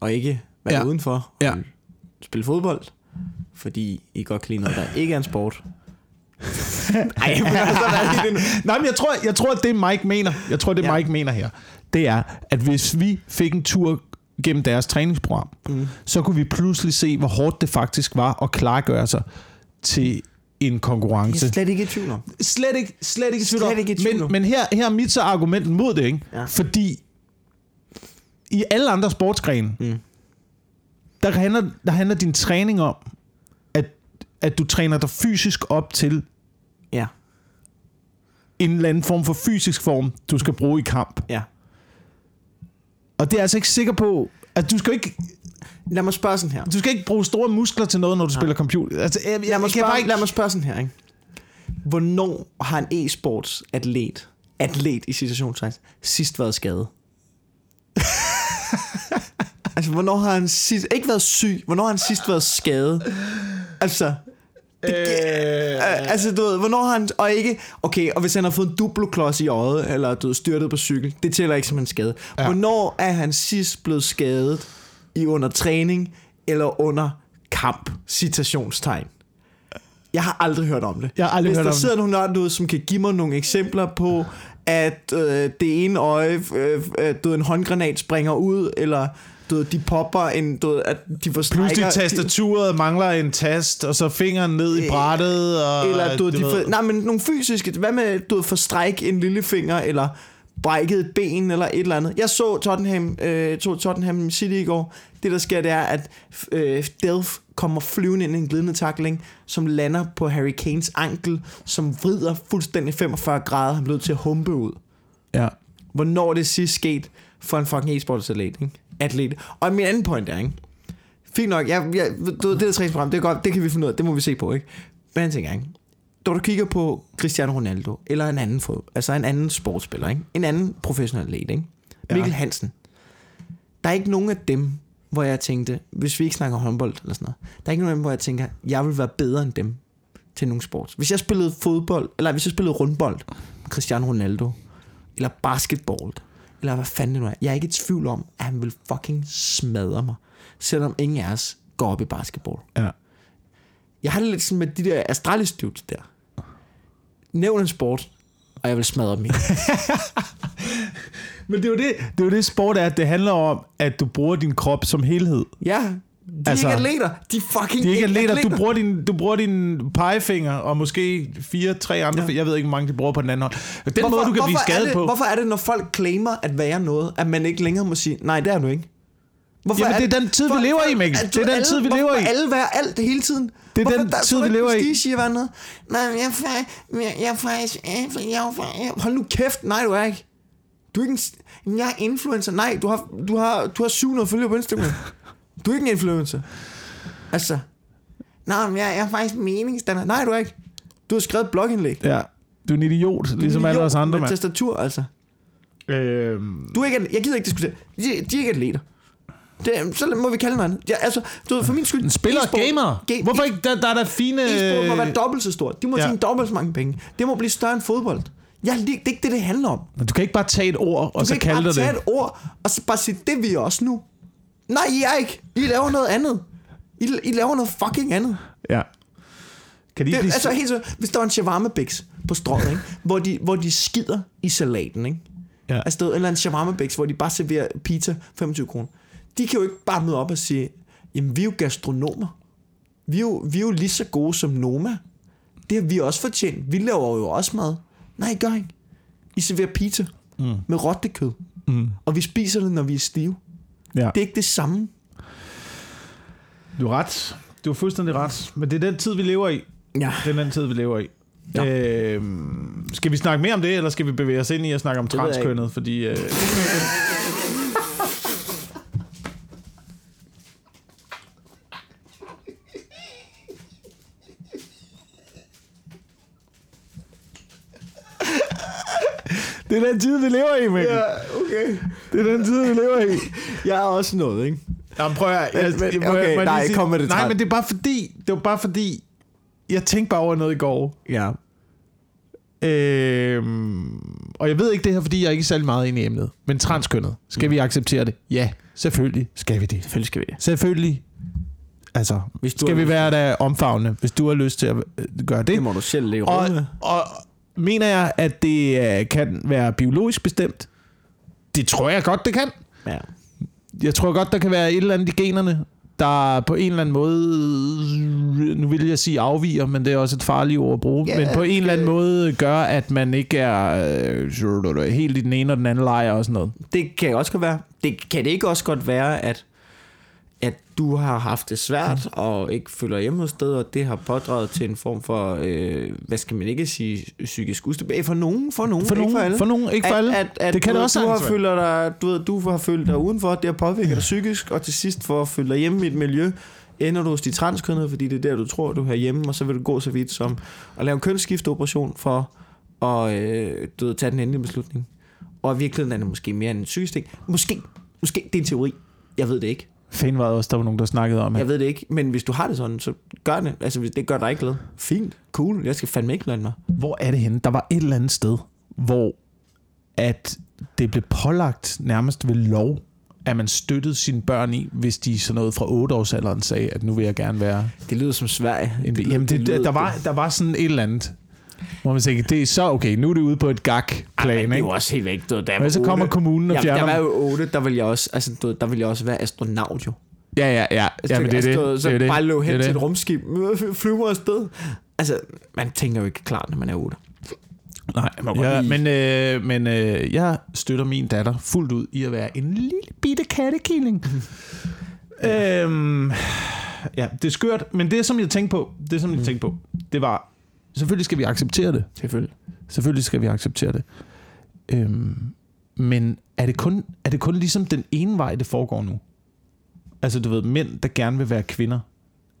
[SPEAKER 2] og ikke være
[SPEAKER 1] Ja.
[SPEAKER 2] ja. udenfor og
[SPEAKER 1] Ja.
[SPEAKER 2] spille fodbold, fordi I godt kan lide noget, der ikke er en sport. Ej, men altså, hvad er det nu?
[SPEAKER 1] Nej, men jeg tror, jeg tror, at det Mike mener, jeg tror, det ja.
[SPEAKER 2] Ja.
[SPEAKER 1] Mike mener her, det er, at hvis vi fik en tur gennem deres træningsprogram, mm. så kunne vi pludselig se, hvor hårdt det faktisk var at klargøre sig til en
[SPEAKER 2] Jeg
[SPEAKER 1] konkurrence.
[SPEAKER 2] er slet ikke i tvivl om.
[SPEAKER 1] Slet ikke, slet ikke, i tvivl
[SPEAKER 2] Slet
[SPEAKER 1] om.
[SPEAKER 2] ikke i tvivl
[SPEAKER 1] men,
[SPEAKER 2] om.
[SPEAKER 1] men her, her er mit så argument mod det, ikke?
[SPEAKER 2] Ja.
[SPEAKER 1] Fordi i alle andre sportsgrene, mm.
[SPEAKER 2] Mm.
[SPEAKER 1] der, handler, der handler din træning om, at, at du træner dig fysisk op til
[SPEAKER 2] Ja,
[SPEAKER 1] en eller anden form for fysisk form, du skal bruge i kamp.
[SPEAKER 2] ja.
[SPEAKER 1] Og det er jeg altså ikke sikker på, at du skal ikke,
[SPEAKER 2] Lad mig spørge sådan her.
[SPEAKER 1] du skal ikke bruge store muskler til noget, når du spiller computer. Altså, jeg, jeg,
[SPEAKER 2] lad, mig
[SPEAKER 1] jeg kan bare
[SPEAKER 2] spørge,
[SPEAKER 1] ikke...
[SPEAKER 2] lad mig spørge sådan her, ikke? Hvornår har en e-sports atlet, atlet i situationstegn, sidst været skadet? altså, hvornår har han sidst, ikke været syg, hvornår har han sidst været skadet? Altså, det,
[SPEAKER 1] Øh,
[SPEAKER 2] Øh, altså, du ved, hvornår har han... Og ikke... Okay, og hvis han har fået en duploklods i øjet, eller du ved, styrtet på cykel, det tæller ikke som en skade.
[SPEAKER 1] Ja.
[SPEAKER 2] Ja. Hvornår er han sidst blevet skadet i under træning, eller under kamp? Citationstegn. Jeg har aldrig hørt om det.
[SPEAKER 1] Jeg har aldrig
[SPEAKER 2] Hvis
[SPEAKER 1] hørt
[SPEAKER 2] der
[SPEAKER 1] om
[SPEAKER 2] sidder nogen nørden derude, som kan give mig nogle eksempler på, at øh, det ene øje, øh, øh, du ved, en håndgranat springer ud, eller du ved, de popper en, du ved, at de får
[SPEAKER 1] Pludselig
[SPEAKER 2] strækker-
[SPEAKER 1] tastaturet mangler en tast, og så fingeren ned i brættet, og...
[SPEAKER 2] Øh, Eller du,
[SPEAKER 1] du
[SPEAKER 2] de
[SPEAKER 1] ved.
[SPEAKER 2] for, nej, men nogle fysiske. Hvad med du for stræk en lillefinger, eller brækket et ben, eller et eller andet. Jeg så Tottenham, øh, tog Tottenham City i går. Det, der sker, det er, at øh, Delf kommer flyvende ind i en glidende takling, som lander på Harry Kanes ankel, som vrider fuldstændig 45 grader. Han blev nødt til at humpe ud.
[SPEAKER 1] Ja.
[SPEAKER 2] Hvornår er det sidst sket for en fucking e-sportsatlet, ikke? Atlet. Og min anden point er, ikke? Fint nok, jeg, jeg, du, ved, det der træningsprogram, det, er godt, det kan vi finde ud af, det må vi se på, ikke? Men en ting er, ikke? Når du kigger på Cristiano Ronaldo, eller en anden, fod, altså en anden sportsspiller, ikke? En anden professionel atlet, ikke? Mikkel
[SPEAKER 1] Ja.
[SPEAKER 2] ja. Hansen. Der er ikke nogen af dem, hvor jeg tænkte, hvis vi ikke snakker håndbold eller sådan noget, der er ikke nogen af dem, hvor jeg tænker, jeg vil være bedre end dem til nogle sports. Hvis jeg spillede fodbold, eller hvis jeg spillede rundbold, med Cristiano Ronaldo, eller basketball, eller hvad fanden det nu er. Jeg er ikke i tvivl om, at han vil fucking smadre mig, selvom ingen af os går op i basketball.
[SPEAKER 1] ja.
[SPEAKER 2] Jeg har det lidt sådan med de der astralis dudes der. Nævn en sport, og jeg vil smadre dem i.
[SPEAKER 1] Men det er, jo det, det er jo det, sport er. Det handler om, at du bruger din krop som helhed.
[SPEAKER 2] Ja, de er
[SPEAKER 1] Altså,
[SPEAKER 2] ikke atleter. De er fucking
[SPEAKER 1] Det er ikke atleter. Du
[SPEAKER 2] bruger...
[SPEAKER 1] bruger, din, du bruger din pegefinger og måske fire-tre andre. Ja. Jeg ved ikke, hvor mange de bruger på den anden hånd. Den hvorfor, måde, du kan blive skadet
[SPEAKER 2] er det,
[SPEAKER 1] på.
[SPEAKER 2] Hvorfor er det, når folk claimer at være noget, at man ikke længere må sige, nej, det er du ikke? Hvorfor
[SPEAKER 1] Jamen, det er den tid, vi lever i, Mikkel.
[SPEAKER 2] at du-
[SPEAKER 1] Det er den
[SPEAKER 2] alle,
[SPEAKER 1] tid, vi lever
[SPEAKER 2] hvorfor
[SPEAKER 1] i.
[SPEAKER 2] må alle være alt hele tiden?
[SPEAKER 1] Det er
[SPEAKER 2] hvorfor,
[SPEAKER 1] den tid, vi lever i.
[SPEAKER 2] Hvorfor siger hvad andet? Nej, men jeg er faktisk... Jeg, jeg er faktisk... Jeg, er- jeg, er- jeg, er- hold nu kæft. Nej, du er ikke. Du er ikke en... s- Jamen, Jeg er influencer. Nej, du har, du har, du har 700 følgere på Instagram. Du er ikke en influencer. Altså... Nej, men jeg, jeg er faktisk meningsdanner. Nej, du er ikke. Du har skrevet et blogindlæg.
[SPEAKER 1] Ja, du er en idiot, ligesom alle
[SPEAKER 2] Jo,
[SPEAKER 1] os andre,
[SPEAKER 2] med
[SPEAKER 1] mand.
[SPEAKER 2] tastatur, altså.
[SPEAKER 1] Øhm,
[SPEAKER 2] Du er ikke, jeg gider ikke diskutere. De, de er ikke atleter. Det, så må vi kalde noget andet. Ja, altså, du ved, for min skyld...
[SPEAKER 1] Spiller
[SPEAKER 2] e-sport-
[SPEAKER 1] gamer.
[SPEAKER 2] Ga-
[SPEAKER 1] Hvorfor ikke? Der, der er der fine...
[SPEAKER 2] E-sport må være dobbelt så stort. De må
[SPEAKER 1] ja.
[SPEAKER 2] ja. tjene dobbelt så mange penge. Det må blive større end fodbold. Jeg, det, det er ikke det, det handler om.
[SPEAKER 1] Men Du kan ikke bare tage et ord, og
[SPEAKER 2] Du
[SPEAKER 1] så
[SPEAKER 2] kan ikke
[SPEAKER 1] kalde
[SPEAKER 2] bare
[SPEAKER 1] dig
[SPEAKER 2] tage
[SPEAKER 1] det.
[SPEAKER 2] et ord, og så bare sige, det er vi også nu. Nej, I er ikke. I laver noget andet. I, I laver noget fucking andet.
[SPEAKER 1] Ja. Kan de
[SPEAKER 2] Det,
[SPEAKER 1] ikke blive...
[SPEAKER 2] altså helt så, hvis der var en shawarma biks på strået, ikke? Hvor, de, hvor de skider i salaten, ikke?
[SPEAKER 1] Ja.
[SPEAKER 2] Altså, der er en eller anden shawarma biks, hvor de bare serverer pizza 25 kroner. De kan jo ikke bare møde op og sige, jamen vi er jo gastronomer. Vi er jo, vi er jo lige så gode som Noma. Det har vi også fortjent. Vi laver jo også mad. Nej, I gør ikke. I serverer pizza mm. med rottekød. Mm. Og vi spiser det, når vi er stive.
[SPEAKER 1] ja.
[SPEAKER 2] Det er ikke det samme.
[SPEAKER 1] Du har ret. Du har fuldstændig ret. Men det er den tid, vi lever i.
[SPEAKER 2] Ja.
[SPEAKER 1] Det er den tid, vi lever i.
[SPEAKER 2] Ja.
[SPEAKER 1] Øhm, skal vi snakke mere om det, eller skal vi bevæge os ind i at snakke om
[SPEAKER 2] ved jeg
[SPEAKER 1] transkønnet? Fordi... Øh... Det er den tid, vi lever i, Mikkel. Ja.
[SPEAKER 2] okay.
[SPEAKER 1] Det er den tid, vi lever i.
[SPEAKER 2] Jeg er også noget, ikke?
[SPEAKER 1] Jamen, prøv at, jeg,
[SPEAKER 2] Men-
[SPEAKER 1] jeg,
[SPEAKER 2] men-
[SPEAKER 1] må jeg, må
[SPEAKER 2] okay,
[SPEAKER 1] jeg lige
[SPEAKER 2] nej,
[SPEAKER 1] sige-
[SPEAKER 2] kom med det
[SPEAKER 1] Nej,
[SPEAKER 2] træt.
[SPEAKER 1] men det er bare fordi, det var bare fordi, jeg tænkte bare over noget i går.
[SPEAKER 2] Ja.
[SPEAKER 1] Øhm, og jeg ved ikke det her, fordi jeg er ikke særlig meget inde i emnet. Men transkønnet, skal vi acceptere det? Ja, selvfølgelig skal vi det.
[SPEAKER 2] Selvfølgelig skal vi det.
[SPEAKER 1] Selvfølgelig. Altså,
[SPEAKER 2] Hvis du
[SPEAKER 1] skal
[SPEAKER 2] har
[SPEAKER 1] vi
[SPEAKER 2] lyst
[SPEAKER 1] være der omfavnende, hvis du har lyst til at øh, gøre det.
[SPEAKER 2] Det må du selv lægge
[SPEAKER 1] og,
[SPEAKER 2] råd med.
[SPEAKER 1] og mener jeg, at det øh, kan være biologisk bestemt? Det tror jeg godt, det kan.
[SPEAKER 2] Ja.
[SPEAKER 1] Jeg tror godt, der kan være et eller andet i generne, der på en eller anden måde, nu vil jeg sige afviger, men det er også et farligt ord at bruge,
[SPEAKER 2] Ja, øh,
[SPEAKER 1] yeah, men på en eller anden måde gør, at man ikke er øh, helt i den ene og den anden lejr og sådan noget.
[SPEAKER 2] Det kan også godt være. Det kan det ikke også godt være, at, at du har haft det svært
[SPEAKER 1] Mm.
[SPEAKER 2] og ikke føler hjemme hos sted, og det har pådraget til en form for, øh, hvad skal man ikke sige, psykisk ustabile. For nogen, for nogen,
[SPEAKER 1] For
[SPEAKER 2] ikke
[SPEAKER 1] nogen,
[SPEAKER 2] for alle.
[SPEAKER 1] for nogen ikke for alle.
[SPEAKER 2] At, at, at
[SPEAKER 1] det kan
[SPEAKER 2] du,
[SPEAKER 1] det også
[SPEAKER 2] du har
[SPEAKER 1] sagtens være.
[SPEAKER 2] føler dig, du, ved, du har følt dig udenfor, det har påvirket dig psykisk, og til sidst for at føle dig hjemme i et miljø, ender du hos de transkønnede, fordi det er der, du tror, du hører hjemme, og så vil du gå så vidt som at lave en kønsskifteoperation for at øh, du ved, tage den endelige beslutning. Og i virkeligheden er det måske mere end en psykisk ting. Måske, måske, det er en teori. Jeg ved det ikke.
[SPEAKER 1] Fanden var det også, der var nogen, der snakkede om, at
[SPEAKER 2] Jeg ved det ikke, men hvis du har det sådan, så gør det. Altså, hvis det gør dig ikke glad. Fint, cool, jeg skal fandme ikke lønne mig.
[SPEAKER 1] hvor er det henne? Der var et eller andet sted, hvor at det blev pålagt nærmest ved lov, at man støttede sine børn i, hvis de sådan noget fra 8-årsalderen sagde, at nu vil jeg gerne være
[SPEAKER 2] Det lyder som Sverige.
[SPEAKER 1] En,
[SPEAKER 2] lyder-
[SPEAKER 1] jamen, det,
[SPEAKER 2] lyder-
[SPEAKER 1] der, var, der var sådan et eller andet, hvor man tænkte, det er så okay, nu er det ude på et
[SPEAKER 2] Ej,
[SPEAKER 1] gag-plan,
[SPEAKER 2] men det er jo
[SPEAKER 1] ikke?
[SPEAKER 2] også helt væk, du ved, da jeg
[SPEAKER 1] Men
[SPEAKER 2] var
[SPEAKER 1] så kommer
[SPEAKER 2] otte.
[SPEAKER 1] kommunen og
[SPEAKER 2] Ja,
[SPEAKER 1] fjerner
[SPEAKER 2] jeg var
[SPEAKER 1] dem.
[SPEAKER 2] jo 8, der ville jeg også, altså, du, ved, der ville jeg også være astronaut jo.
[SPEAKER 1] Ja, ja, ja. ja men det er
[SPEAKER 2] altså,
[SPEAKER 1] det.
[SPEAKER 2] du ved,
[SPEAKER 1] det,
[SPEAKER 2] Så
[SPEAKER 1] er jo det.
[SPEAKER 2] bare løb
[SPEAKER 1] Det er
[SPEAKER 2] hen til
[SPEAKER 1] det.
[SPEAKER 2] et rumskib, øh, flyve afsted. Altså, man tænker jo ikke klart, når man er 8.
[SPEAKER 1] Nej, man må ja, men øh, men øh, jeg støtter min datter fuldt ud i at være en lille bitte kattekilling. øhm, ja, det er skørt, men det som jeg tænkte på, det
[SPEAKER 2] Mm.
[SPEAKER 1] som jeg tænkte på, det var, selvfølgelig skal vi acceptere det.
[SPEAKER 2] Selvfølgelig.
[SPEAKER 1] Selvfølgelig skal vi acceptere det. Øhm, men er det, kun, er det kun ligesom den ene vej, det foregår nu? Altså, du ved, mænd, der gerne vil være kvinder.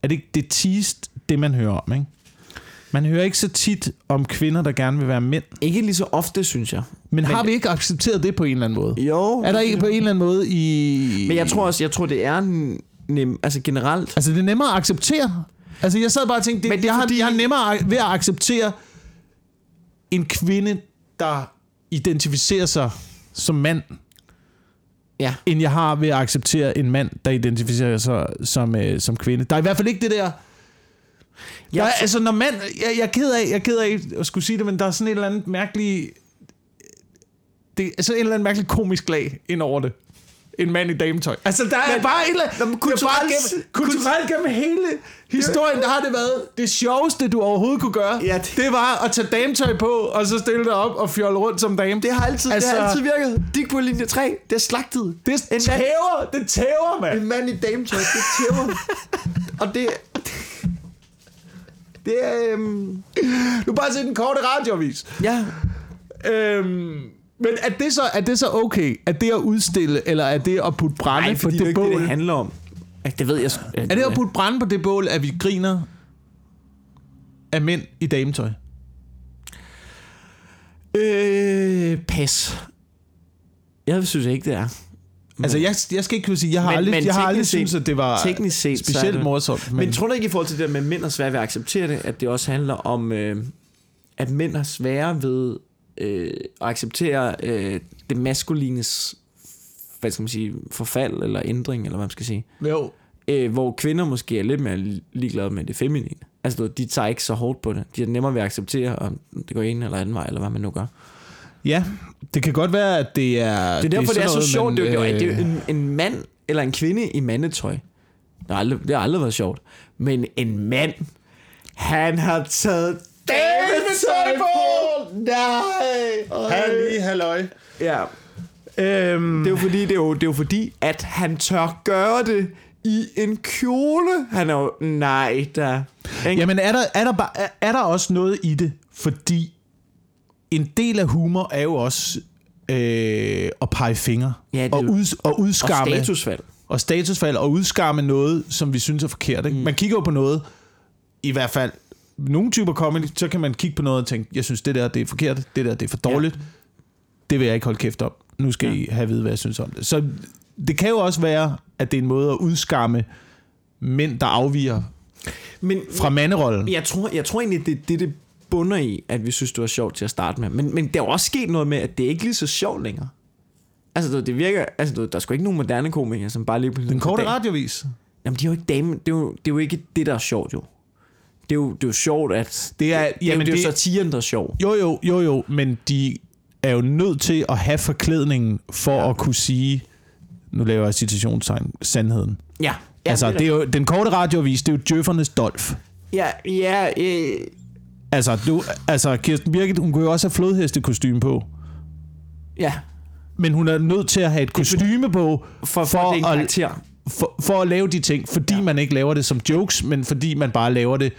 [SPEAKER 1] Er det ikke det tigest, det man hører om, ikke? Man hører ikke så tit om kvinder, der gerne vil være mænd.
[SPEAKER 2] Ikke lige så ofte, synes jeg.
[SPEAKER 1] Men, har vi ikke accepteret det på en eller anden måde?
[SPEAKER 2] Jo.
[SPEAKER 1] Er der ikke på en eller anden måde i...
[SPEAKER 2] Men jeg tror også, jeg tror, det er en nem, altså generelt.
[SPEAKER 1] Altså, det er nemmere at acceptere. Altså, jeg sad bare og tænkte, det, Men
[SPEAKER 2] Men det
[SPEAKER 1] det
[SPEAKER 2] er
[SPEAKER 1] jeg,
[SPEAKER 2] fordi-
[SPEAKER 1] har, jeg har nemmere ac- ved at acceptere en kvinde, der identificerer sig som mand,
[SPEAKER 2] Ja.
[SPEAKER 1] end jeg har ved at acceptere en mand, der identificerer sig som, øh, som kvinde. Der er i hvert fald ikke det der... Jeg, der,
[SPEAKER 2] Jeg,
[SPEAKER 1] er- altså, når mand... Jeg, jeg, er ked af, jeg er ked af at skulle sige det, men der er sådan et eller andet mærkeligt... det er sådan en eller anden mærkelig komisk lag ind over det. En mand i dametøj. Altså, der er
[SPEAKER 2] Men-
[SPEAKER 1] bare et eller andet...
[SPEAKER 2] Nå, men
[SPEAKER 1] det er bare
[SPEAKER 2] kulturelt-
[SPEAKER 1] gennem, kulturelt gennem hele historien, der har det været det sjoveste, du overhovedet kunne gøre.
[SPEAKER 2] Ja, det-
[SPEAKER 1] det var at tage dametøj på, og så stille dig op og fjolle rundt som dame.
[SPEAKER 2] Det har altid, altså, det har
[SPEAKER 1] Altså-
[SPEAKER 2] altid virket. Dig på linje 3, det er slagtet.
[SPEAKER 1] Det
[SPEAKER 2] en mand,
[SPEAKER 1] tæver, det tæver, mand.
[SPEAKER 2] en mand i dametøj, det tæver. og det... Det er... Øhm,
[SPEAKER 1] Du har bare set den korte radioavis.
[SPEAKER 2] ja,
[SPEAKER 1] Øhm, men er det, så, er det så okay? Er det at udstille, eller er det at putte brænde
[SPEAKER 2] Nej,
[SPEAKER 1] på
[SPEAKER 2] fordi det er
[SPEAKER 1] det
[SPEAKER 2] jo
[SPEAKER 1] bål?
[SPEAKER 2] ikke det, det handler om. Ja, Det ved jeg sgu-
[SPEAKER 1] er det at putte brænde på det bål, at vi griner af mænd i dametøj?
[SPEAKER 2] Øh, pas. Jeg synes ikke, det er.
[SPEAKER 1] Altså, jeg, jeg skal ikke kunne sige, jeg har
[SPEAKER 2] Men-
[SPEAKER 1] men, aldrig,
[SPEAKER 2] men
[SPEAKER 1] men jeg har aldrig
[SPEAKER 2] teknisk set-
[SPEAKER 1] syntes, at det var
[SPEAKER 2] teknisk set, så er
[SPEAKER 1] specielt
[SPEAKER 2] det-
[SPEAKER 1] morsomt.
[SPEAKER 2] Men, men tror du ikke i forhold til det der med, at mænd har svært ved at acceptere det, at det også handler om, øh, at mænd har svære ved øh, at acceptere øh, det maskulines hvad skal man sige, forfald eller ændring, eller hvad man skal sige.
[SPEAKER 1] jo,
[SPEAKER 2] Øh, hvor kvinder måske er lidt mere ligeglade med det feminine. Altså, du ved, de tager ikke så hårdt på det. De er nemmere ved at acceptere, om det går en eller anden vej, eller hvad man nu gør.
[SPEAKER 1] ja, det kan godt være, at det er...
[SPEAKER 2] Det er derfor, det er, det er så
[SPEAKER 1] sådan
[SPEAKER 2] sjovt.
[SPEAKER 1] noget,
[SPEAKER 2] Det er, jo,
[SPEAKER 1] men,
[SPEAKER 2] det er
[SPEAKER 1] øh,
[SPEAKER 2] jo en, en mand eller en kvinde i mandetøj. Det har aldrig, det har aldrig været sjovt. Men en mand, han har taget dametøj på! Nej!
[SPEAKER 1] Halli, halløj.
[SPEAKER 2] Ja,
[SPEAKER 1] Øhm,
[SPEAKER 2] det er jo fordi, det er jo, det er jo fordi at han tør gøre det i en kjole. Han er jo, nej da. Ikke?
[SPEAKER 1] Jamen er der, er, der bare, er, er der også noget i det? Fordi en del af humor er jo også øh, at pege fingre.
[SPEAKER 2] Ja, det er
[SPEAKER 1] og,
[SPEAKER 2] jo-
[SPEAKER 1] ud, og
[SPEAKER 2] og
[SPEAKER 1] udskamme.
[SPEAKER 2] statusfald.
[SPEAKER 1] og statusfald. Og udskamme noget, som vi synes er forkert. Ikke? Man kigger jo på noget, i hvert fald nogle typer comedy, så kan man kigge på noget og tænke, jeg synes det der det er forkert, det der det er for dårligt. Ja. Det vil jeg ikke holde kæft om. Nu skal ja. I have at vide, hvad jeg synes om det. Så det kan jo også være, at det er en måde at udskamme mænd, der afviger
[SPEAKER 2] Men,
[SPEAKER 1] fra manderollen.
[SPEAKER 2] Jeg tror, jeg tror egentlig, det er det, det bunder i, at vi synes, det var sjovt til at starte med. Men, men der er jo også sket noget med, at det er ikke lige så sjovt længere. Altså, du ved, det virker, altså, du ved, der er sgu ikke nogen moderne komikere, som bare lige pludselig...
[SPEAKER 1] Den korte
[SPEAKER 2] Dam-
[SPEAKER 1] radiovis.
[SPEAKER 2] Jamen, de er jo ikke dame, det er jo, det er jo ikke det, der er sjovt, jo. Det er jo, det er jo sjovt, at...
[SPEAKER 1] Det er-
[SPEAKER 2] det, jamen,
[SPEAKER 1] jamen,
[SPEAKER 2] det, det er jo
[SPEAKER 1] det-
[SPEAKER 2] satiren, der er sjov.
[SPEAKER 1] Jo, jo, jo, jo, men de er jo nødt til at have forklædningen for ja. at kunne sige, nu laver jeg citationstegn, sandheden.
[SPEAKER 2] Ja. Jamen,
[SPEAKER 1] Ja, altså, det er jo, den korte radiovis, det er jo djøffernes dolf.
[SPEAKER 2] Ja, ja, øh,
[SPEAKER 1] Altså, du, altså, Kirsten Birgit, hun kunne jo også have flodhestekostyme på.
[SPEAKER 2] ja.
[SPEAKER 1] Men hun er nødt til at have et kostyme på,
[SPEAKER 2] For, for, for det er en
[SPEAKER 1] at,
[SPEAKER 2] karakter.
[SPEAKER 1] for, for at lave de ting. Fordi ja. man ikke laver det som jokes, men fordi man bare laver det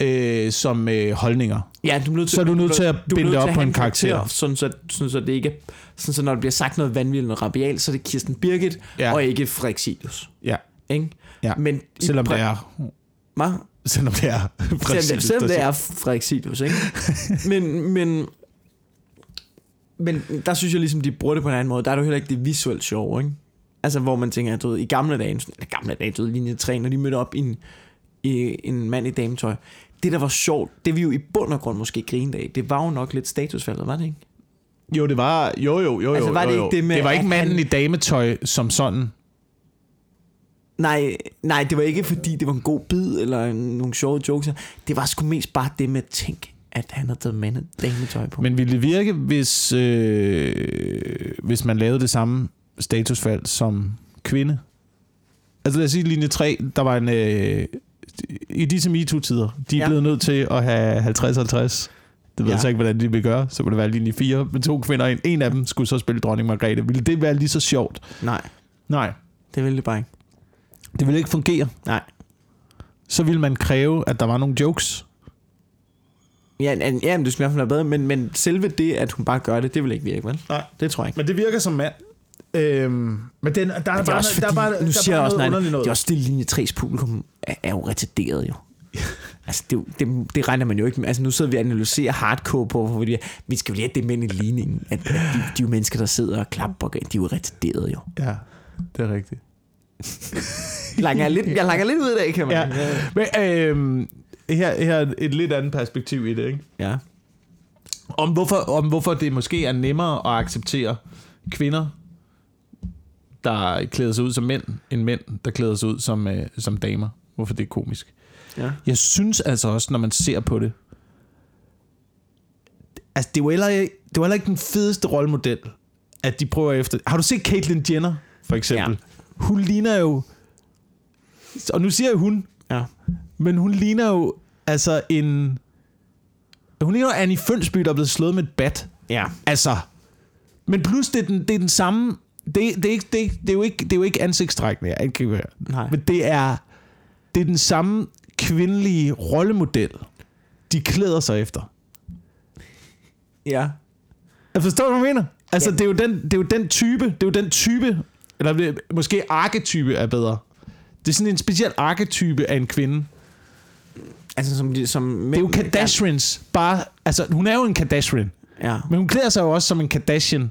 [SPEAKER 1] øh, som øh, holdninger.
[SPEAKER 2] Ja, du er nødt til,
[SPEAKER 1] Så er du nødt til at
[SPEAKER 2] du er nødt
[SPEAKER 1] binde det op
[SPEAKER 2] at
[SPEAKER 1] på
[SPEAKER 2] have
[SPEAKER 1] en karakter.
[SPEAKER 2] Sådan så, sådan så det ikke sådan så når der bliver sagt noget vanvittigt og rabialt, så er det Kirsten Birgit ja.
[SPEAKER 1] Ja.
[SPEAKER 2] og ikke Frexilius.
[SPEAKER 1] Ja.
[SPEAKER 2] Ikke?
[SPEAKER 1] ja. Men
[SPEAKER 2] Men i
[SPEAKER 1] selvom,
[SPEAKER 2] præ-
[SPEAKER 1] det er,
[SPEAKER 2] Hva?
[SPEAKER 1] selvom det er
[SPEAKER 2] Selvom,
[SPEAKER 1] præcis,
[SPEAKER 2] selvom
[SPEAKER 1] der
[SPEAKER 2] det er Frexilius, ikke? men, men, men der synes jeg ligesom, de bruger det på en anden måde. Der er det jo heller ikke det visuelt sjove, ikke? Altså, hvor man tænker, at du ved, i gamle dage, eller gamle dage, du ved, linje 3, når de mødte op i en, i, en mand i dametøj. Det, der var sjovt, det vi jo i bund og grund måske grinede af, det var jo nok lidt statusfaldet, var det ikke?
[SPEAKER 1] Jo, det var... Jo, jo, jo,
[SPEAKER 2] Altså,
[SPEAKER 1] jo,
[SPEAKER 2] var det
[SPEAKER 1] jo, jo.
[SPEAKER 2] ikke det med,
[SPEAKER 1] det var
[SPEAKER 2] at
[SPEAKER 1] ikke manden
[SPEAKER 2] han-
[SPEAKER 1] i dametøj som sådan.
[SPEAKER 2] Nej, nej, det var ikke fordi, det var en god bid eller en- nogle sjove jokes. Det var sgu mest bare det med at tænke, at han havde taget mande dametøj på. Men,
[SPEAKER 1] Men ville det virke, hvis, øh, hvis man lavede det samme statusfald som kvinde? Altså lad os sige, linje 3, der var en... Øh, I disse MeToo-tider, de er
[SPEAKER 2] Ja.
[SPEAKER 1] ja. blevet nødt til at have 50-50. Det ved
[SPEAKER 2] Ja.
[SPEAKER 1] ja. jeg så ikke, hvordan de vil gøre. Så må det være linje 4 med to kvinder. og En, en af dem skulle så spille dronning Margrethe. Ville det være lige så sjovt?
[SPEAKER 2] nej,
[SPEAKER 1] Nej.
[SPEAKER 2] det ville det bare ikke.
[SPEAKER 1] Det ville ikke fungere.
[SPEAKER 2] Nej.
[SPEAKER 1] Så ville man kræve, at der var nogle jokes.
[SPEAKER 2] Ja, ja, ja men det skulle i hvert fald være bedre, men, men selve det, at hun bare gør det, det vil ikke virke, vel?
[SPEAKER 1] Nej.
[SPEAKER 2] Det tror jeg ikke.
[SPEAKER 1] Men det virker som mand. Øhm, men den, der, er bare,
[SPEAKER 2] Det er også
[SPEAKER 1] der er
[SPEAKER 2] fordi,
[SPEAKER 1] bare,
[SPEAKER 2] nu
[SPEAKER 1] der
[SPEAKER 2] siger
[SPEAKER 1] er
[SPEAKER 2] jeg
[SPEAKER 1] bare noget
[SPEAKER 2] også, nej,
[SPEAKER 1] underligt noget.
[SPEAKER 2] det er også det linje 3's publikum er, er jo retarderet jo. altså, det, er jo- det, det, regner man jo ikke med. Altså, nu sidder vi og analyserer hardcore på, hvor vi, vi skal jo lige have det med i ligningen, at, at de, de, jo mennesker, der sidder og klapper, de er jo retarderet jo.
[SPEAKER 1] Ja, det er rigtigt.
[SPEAKER 2] Langer lidt, jeg langer lidt ud i dag, kan man.
[SPEAKER 1] Ja. Men øhm, her, her er et lidt andet perspektiv i det, ikke?
[SPEAKER 2] ja.
[SPEAKER 1] Om hvorfor, om hvorfor det måske er nemmere at acceptere kvinder, der klæder sig ud som mænd, end mænd, der klæder sig ud som, øh, som damer. Hvorfor det er komisk.
[SPEAKER 2] ja.
[SPEAKER 1] Jeg synes altså også, når man ser på det, altså det er jo heller ikke, det var heller ikke den fedeste rollemodel, at de prøver efter. Har du set Caitlyn Jenner, for eksempel? Ja. Hun ligner jo... Og nu siger jeg hun,
[SPEAKER 2] Ja.
[SPEAKER 1] men hun ligner jo altså en... Hun ligner jo Annie Fønsby, der er blevet slået med et bat.
[SPEAKER 2] Ja.
[SPEAKER 1] Altså... Men plus, det er den, det er den samme... Det, det, er ikke, det, er ikke- det, er jo ikke, det er jo ikke ansigtstrækkende, jeg ikke kan høre.
[SPEAKER 2] Nej.
[SPEAKER 1] Men det er, det er den samme kvindelige rollemodel, de klæder sig efter.
[SPEAKER 2] Ja.
[SPEAKER 1] Jeg forstår, hvad du mener? Altså,
[SPEAKER 2] Ja.
[SPEAKER 1] det, er jo den, det er jo den type, det er jo den type, eller det- måske arketype er bedre. Det er sådan en speciel arketype af en kvinde. Det
[SPEAKER 2] Altså som, de, som mænd,
[SPEAKER 1] er jo Kardashians. Bare, altså, hun er jo en Kardashian.
[SPEAKER 2] Ja.
[SPEAKER 1] Men hun klæder sig jo også som en Kardashian.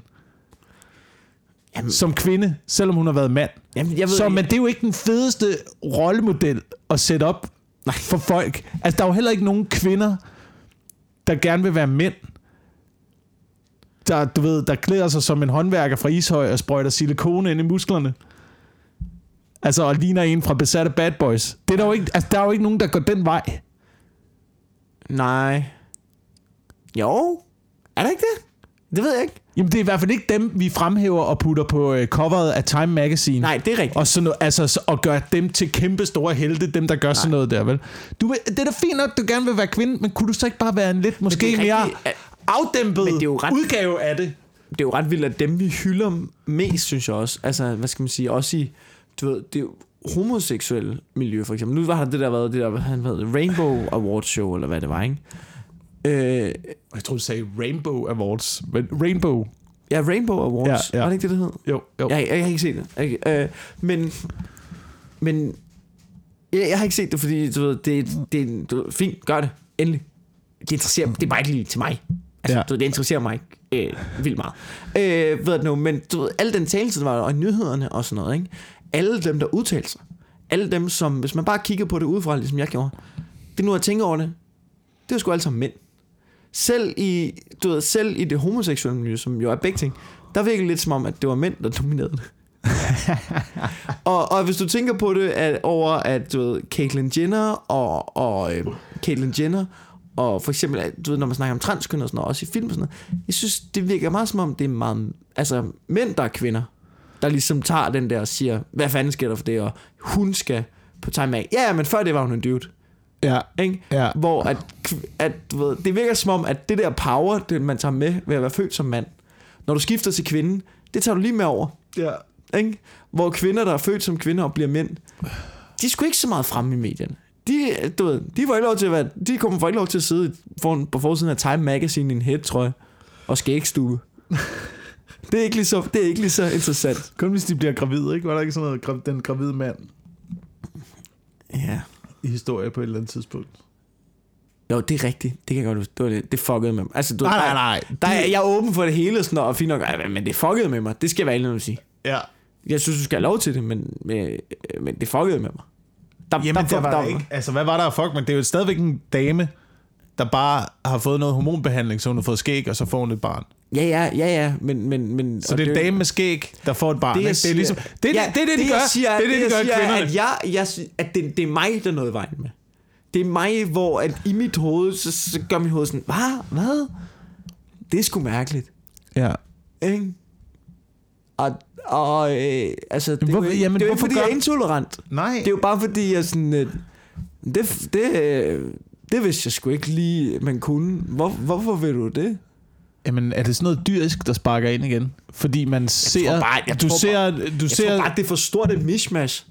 [SPEAKER 2] Jamen-
[SPEAKER 1] Som kvinde, selvom hun har været mand.
[SPEAKER 2] Jamen, jeg ved
[SPEAKER 1] Så
[SPEAKER 2] ikke-
[SPEAKER 1] men det er jo ikke den fedeste rollemodel at sætte op Nej. for folk. Altså, der er jo heller ikke nogen kvinder, der gerne vil være mænd. Der, du ved, der klæder sig som en håndværker fra Ishøj og sprøjter silikone ind i musklerne. Altså, og ligner en fra besatte bad boys. Det er der, jo ikke, altså, der er jo ikke nogen, der går den vej.
[SPEAKER 2] Nej. Jo. Er det ikke det? Det ved jeg ikke.
[SPEAKER 1] Jamen, det er i hvert fald ikke dem, vi fremhæver og putter på øh, coveret af Time Magazine.
[SPEAKER 2] Nej, det er rigtigt.
[SPEAKER 1] Og, sådan noget, altså, så- og gøre dem til kæmpe store helte, dem der gør Nej. sådan noget der, vel? Du, vil- det er da fint nok, du gerne vil være kvinde, men kunne du så ikke bare være en lidt måske
[SPEAKER 2] det er
[SPEAKER 1] mere
[SPEAKER 2] rigtigt, at-
[SPEAKER 1] afdæmpet
[SPEAKER 2] Men det er jo ret-
[SPEAKER 1] udgave af det?
[SPEAKER 2] det er jo ret vildt, at dem vi hylder mest, synes jeg også, altså, hvad skal man sige, også i, du ved, det er jo homoseksuelle miljø, for eksempel. Nu var der det der, været det der, hvad han ved, Rainbow Awards Show, eller hvad det var, ikke? Øh,
[SPEAKER 1] Jeg tror du sagde Rainbow Awards. Men Rainbow.
[SPEAKER 2] ja, Rainbow Awards,
[SPEAKER 1] Ja,
[SPEAKER 2] ja,
[SPEAKER 1] ja.
[SPEAKER 2] ja. var det ikke det, det hed?
[SPEAKER 1] Jo, jo.
[SPEAKER 2] Jeg, jeg, jeg har ikke set det. Jeg, øh, men, men jeg, jeg har ikke set det, fordi du ved, det, det, du, ved, fint, gør det, endelig. Det interesserer det er bare ikke lige til mig. Altså,
[SPEAKER 1] Ja.
[SPEAKER 2] ja. du ved, det interesserer mig ikke øh, vildt meget. Øh, ved nu, men du ved, al den talelse, der var der, og nyhederne og sådan noget, ikke? alle dem, der udtalte sig, alle dem, som, hvis man bare kigger på det udefra, ligesom jeg gjorde, det nu, jeg tænker over det, det er sgu alle sammen mænd. Selv i, du ved, selv i det homoseksuelle miljø, som jo er begge ting, der virkede det lidt som om, at det var mænd, der dominerede det. og, og hvis du tænker på det at, over, at du ved, Caitlyn Jenner og, og øh, Caitlyn Jenner, og for eksempel, at, du ved, når man snakker om transkøn og sådan noget, også i film og sådan noget, jeg synes, det virker meget som om, det er meget, altså mænd, der er kvinder, der ligesom tager den der og siger, hvad fanden sker der for det, og hun skal på time af. Ja, men før det var hun en dude.
[SPEAKER 1] Ja.
[SPEAKER 2] Ikke?
[SPEAKER 1] Ja.
[SPEAKER 2] Hvor at, at du ved, det virker som om, at det der power, det man tager med ved at være født som mand, når du skifter til kvinden, det tager du lige med over.
[SPEAKER 1] ja.
[SPEAKER 2] Ikke? Hvor kvinder, der er født som kvinder og bliver mænd, de er sgu ikke så meget fremme i medierne. De, du ved, de, får ikke lov til at være, de kommer for ikke lov til at sidde foran, på forsiden af Time Magazine i en hættrøje og skægstue. det, er ikke lige så, det er ikke lige så interessant.
[SPEAKER 1] Kun hvis de bliver gravide, ikke? Var der ikke sådan noget, gra- den gravide mand
[SPEAKER 2] Ja.
[SPEAKER 1] i historie på et eller andet tidspunkt?
[SPEAKER 2] Jo, det er rigtigt. Det kan jeg godt huske. Det, var det, det fuckede med mig. Altså, du,
[SPEAKER 1] Nej, nej,
[SPEAKER 2] der-
[SPEAKER 1] nej.
[SPEAKER 2] Der er, jeg er åben for det hele og sådan noget, og fint nok, Ej, men det fuckede med mig. Det skal jeg være ærlig at sige.
[SPEAKER 1] Ja.
[SPEAKER 2] Jeg synes, du skal have lov til det, men, men, men det fuckede med mig. Der,
[SPEAKER 1] Jamen, der var der
[SPEAKER 2] der-
[SPEAKER 1] ikke. Altså, hvad var der af fuck? Men det er jo stadigvæk en dame, der bare har fået noget hormonbehandling, så hun har fået skæg, og så får hun et barn.
[SPEAKER 2] Ja, ja, ja, ja, men... men, men
[SPEAKER 1] Så
[SPEAKER 2] og
[SPEAKER 1] det er en
[SPEAKER 2] jo-
[SPEAKER 1] dame med skæg, der får et barn.
[SPEAKER 2] jeg
[SPEAKER 1] ikke? det er ligesom,
[SPEAKER 2] siger-
[SPEAKER 1] det, er, det, er det, de
[SPEAKER 2] jeg
[SPEAKER 1] gør.
[SPEAKER 2] Siger,
[SPEAKER 1] det er det, de
[SPEAKER 2] jeg
[SPEAKER 1] gør
[SPEAKER 2] siger,
[SPEAKER 1] kvinderne.
[SPEAKER 2] At, jeg, jeg, sy- at det, det er mig, der er noget i vejen med. Det er mig, hvor at i mit hoved, så, så gør mit hoved sådan, hvad? Hvad? Det er sgu mærkeligt.
[SPEAKER 1] Ja.
[SPEAKER 2] Ikke? Og, og øh, altså, det,
[SPEAKER 1] Hvorfor-
[SPEAKER 2] er jo, ikke-
[SPEAKER 1] jamen,
[SPEAKER 2] det er jo ikke,
[SPEAKER 1] hvorfor
[SPEAKER 2] fordi jeg er
[SPEAKER 1] gør-
[SPEAKER 2] intolerant.
[SPEAKER 1] Nej.
[SPEAKER 2] Det er jo bare fordi, jeg sådan... Øh, det, det, øh, det vidste jeg sgu ikke lige, man kunne. Hvor, hvorfor vil du det?
[SPEAKER 1] Jamen, er det sådan noget dyrisk, der sparker ind igen? Fordi man ser...
[SPEAKER 2] bare- jeg
[SPEAKER 1] du
[SPEAKER 2] tror
[SPEAKER 1] ser... Du
[SPEAKER 2] Jeg
[SPEAKER 1] ser
[SPEAKER 2] tror bare, det er for stort et mishmash.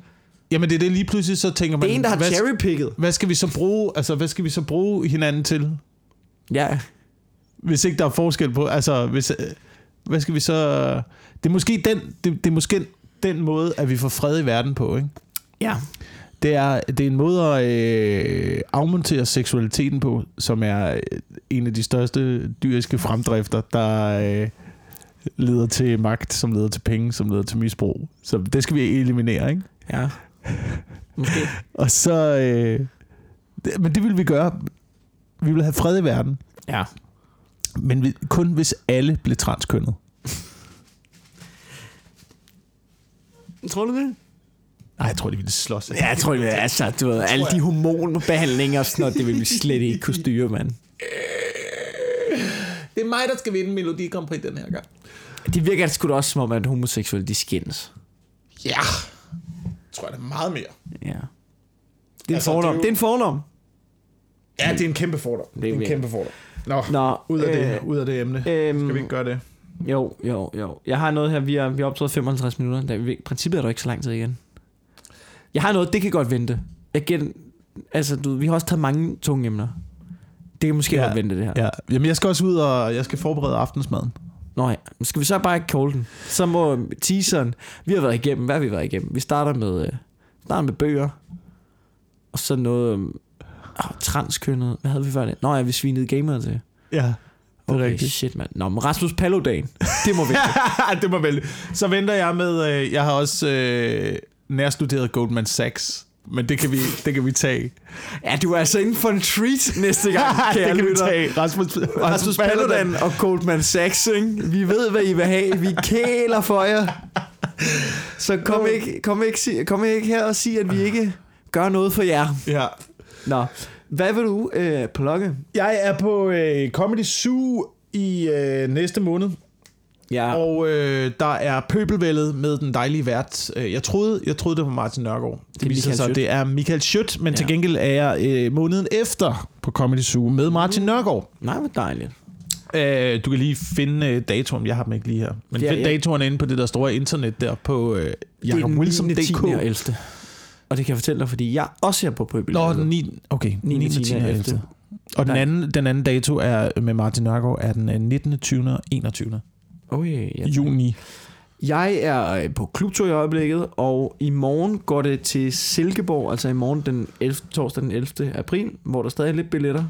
[SPEAKER 1] Jamen, det er det lige pludselig, så tænker man...
[SPEAKER 2] Det er en, der har
[SPEAKER 1] hvad,
[SPEAKER 2] cherrypicket.
[SPEAKER 1] hvad skal vi så bruge... Altså, hvad skal vi så bruge hinanden til?
[SPEAKER 2] Ja,
[SPEAKER 1] Hvis ikke der er forskel på... Altså, hvis... øh, Hvad skal vi så... Det er måske den, det, det er måske den måde, at vi får fred i verden på, ikke?
[SPEAKER 2] ja.
[SPEAKER 1] Det er, det er en måde at øh, afmontere seksualiteten på, som er øh, en af de største dyriske fremdrifter, der øh, leder til magt, som leder til penge, som leder til misbrug. Så det skal vi eliminere, ikke?
[SPEAKER 2] ja. Måske.
[SPEAKER 1] Og så... Øh, det, men det vil vi gøre. Vi vil have fred i verden,
[SPEAKER 2] Ja.
[SPEAKER 1] men vi, kun hvis alle blev transkønnet.
[SPEAKER 2] Tror du det?
[SPEAKER 1] Nej, jeg tror, de ville slås. af.
[SPEAKER 2] Ja, jeg tror det. Altså, du ved, alle de hormonbehandlinger og sådan noget, det vil vi slet ikke kunne styre, mand.
[SPEAKER 1] Det er mig, der skal vinde Melodi Grand Prix den her gang.
[SPEAKER 2] Det virker sgu da også som om, at homoseksuelle, de skændes.
[SPEAKER 1] Ja, tror jeg da meget mere.
[SPEAKER 2] Ja. Det er en
[SPEAKER 1] Altså,
[SPEAKER 2] fornom.
[SPEAKER 1] det er jo-
[SPEAKER 2] Det er en fornom.
[SPEAKER 1] Ja, det er en kæmpe fordom. Det er en
[SPEAKER 2] virkelig.
[SPEAKER 1] kæmpe fordom. Nå,
[SPEAKER 2] Nå,
[SPEAKER 1] ud af,
[SPEAKER 2] øh,
[SPEAKER 1] det, ud af det emne.
[SPEAKER 2] Øhm,
[SPEAKER 1] Skal vi ikke gøre det?
[SPEAKER 2] Jo, jo, jo. Jeg har noget her, vi har, vi har optaget 55 minutter. Der, I princippet er der ikke så lang tid igen. Jeg har noget, det kan godt vente. Igen, altså, du, ved, vi har også taget mange tunge emner. Det kan måske
[SPEAKER 1] Ja,
[SPEAKER 2] ja, godt vente, det her. Ja.
[SPEAKER 1] Ja, jamen jeg skal også ud og jeg skal forberede aftensmaden.
[SPEAKER 2] Nå ja, Men skal vi så bare ikke call den? Så må teaseren, vi har været igennem, hvad har vi været igennem? Vi starter med, øh, starter med bøger, og så noget øh, oh, transkønnet. Hvad havde vi før det? Nå ja, vi svinede gamere til.
[SPEAKER 1] Ja, det er
[SPEAKER 2] Okay,
[SPEAKER 1] rigtigt.
[SPEAKER 2] shit, mand. Nå, men Rasmus Paludan, det må vi.
[SPEAKER 1] det må vel. Så venter jeg med, øh, jeg har også øh, nærstuderet Goldman Sachs, men det kan vi, det kan vi tage.
[SPEAKER 2] Ja, du er altså inden for en treat næste gang, kære
[SPEAKER 1] det kan vi
[SPEAKER 2] lytter.
[SPEAKER 1] tage. Rasmus,
[SPEAKER 2] Rasmus Paludan og Goldman Sachs, ikke? Vi ved, hvad I vil have. Vi kæler for jer. Så kom ikke, kom, ikke, si- kom ikke her og sig, at vi ikke gør noget for jer.
[SPEAKER 1] Ja.
[SPEAKER 2] Nå, hvad vil du øh, plukke?
[SPEAKER 1] Jeg er på øh, Comedy Zoo i øh, næste måned,
[SPEAKER 2] Ja.
[SPEAKER 1] og øh, der er pøbelvældet med den dejlige vært. Øh, Jeg troede, jeg troede det var Martin Nørgaard. Det,
[SPEAKER 2] er
[SPEAKER 1] det viser
[SPEAKER 2] Michael
[SPEAKER 1] sig, at
[SPEAKER 2] Schiødt.
[SPEAKER 1] det er Michael Schødt, men ja. til
[SPEAKER 2] Ja.
[SPEAKER 1] gengæld er jeg øh, måneden efter på Comedy Zoo med Martin Nørgaard.
[SPEAKER 2] Nej, hvor dejligt.
[SPEAKER 1] Øh, du kan lige finde øh, datoen. Jeg har dem ikke lige her. Men
[SPEAKER 2] Ja,
[SPEAKER 1] find
[SPEAKER 2] ja.
[SPEAKER 1] datoen inde på det der store internet der på øh, jakobwilson.dk.
[SPEAKER 2] 10. og 11. Og det kan jeg fortælle dig, fordi jeg også er på Pøbel.
[SPEAKER 1] Nå, den 9. Okay, 9. 9. 10. og 11. Og den
[SPEAKER 2] Nej.
[SPEAKER 1] anden, den anden dato er med Martin Nørgaard er den øh, 19. 20. og 21.
[SPEAKER 2] Oh, yeah, yeah.
[SPEAKER 1] juni.
[SPEAKER 2] Jeg er øh, på klubtur i øjeblikket, og i morgen går det til Silkeborg, altså i morgen den 11, torsdag den 11. april, hvor der stadig er lidt billetter.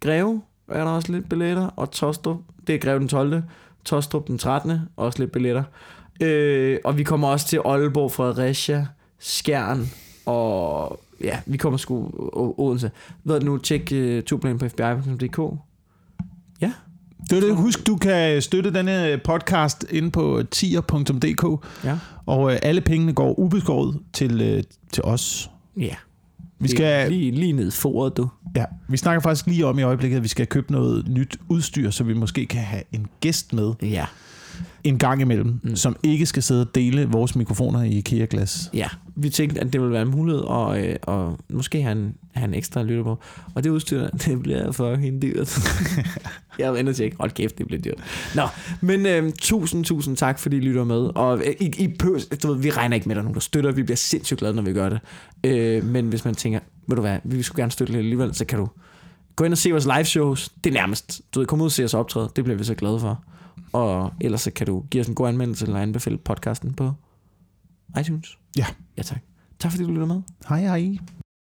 [SPEAKER 2] Greve er der også lidt billetter, og Tostrup, det er Greve den 12., Tostrup den 13., også lidt billetter. Øh, og vi kommer også til Aalborg, Fredericia, Skjern, og ja, vi kommer sgu O- Odense. Ved du nu, tjek uh, turplanen på fbi.dk.
[SPEAKER 1] Det er det. Husk, du kan støtte denne podcast inde på tier.dk,
[SPEAKER 2] Ja.
[SPEAKER 1] og øh, alle pengene går ubeskåret til, øh, til os.
[SPEAKER 2] Ja.
[SPEAKER 1] Vi skal,
[SPEAKER 2] Lige, lige ned i foret, du.
[SPEAKER 1] Ja, vi snakker faktisk lige om i øjeblikket, at vi skal købe noget nyt udstyr, så vi måske kan have en gæst med
[SPEAKER 2] Ja.
[SPEAKER 1] en gang imellem, mm.
[SPEAKER 2] Mm.
[SPEAKER 1] som ikke skal sidde og dele vores mikrofoner i IKEA-glas.
[SPEAKER 2] Ja, vi tænkte, at det ville være en mulighed, og, øh, og måske have en, have en ekstra lytter på. Og det udstyr, det bliver fucking dyrt. jeg har vendt tjekke. Hold kæft, det bliver dyrt. Nå, men øh, tusind, tusind tak, fordi I lytter med. Og øh, I, I pøs, du ved, vi regner ikke med, at der er nogen, der støtter. Vi bliver sindssygt glade, når vi gør det. Øh, men hvis man tænker, ved du hvad, vi vil sgu gerne støtte lidt alligevel, så kan du gå ind og se vores live shows. Det er nærmest, du ved, kom ud og se os optræde. Det bliver vi så glade for. Og ellers så kan du give os en god anmeldelse eller anbefale podcasten på iTunes.
[SPEAKER 1] Ja.
[SPEAKER 2] Ja tak. Tak fordi du lytter med.
[SPEAKER 1] Hej hej.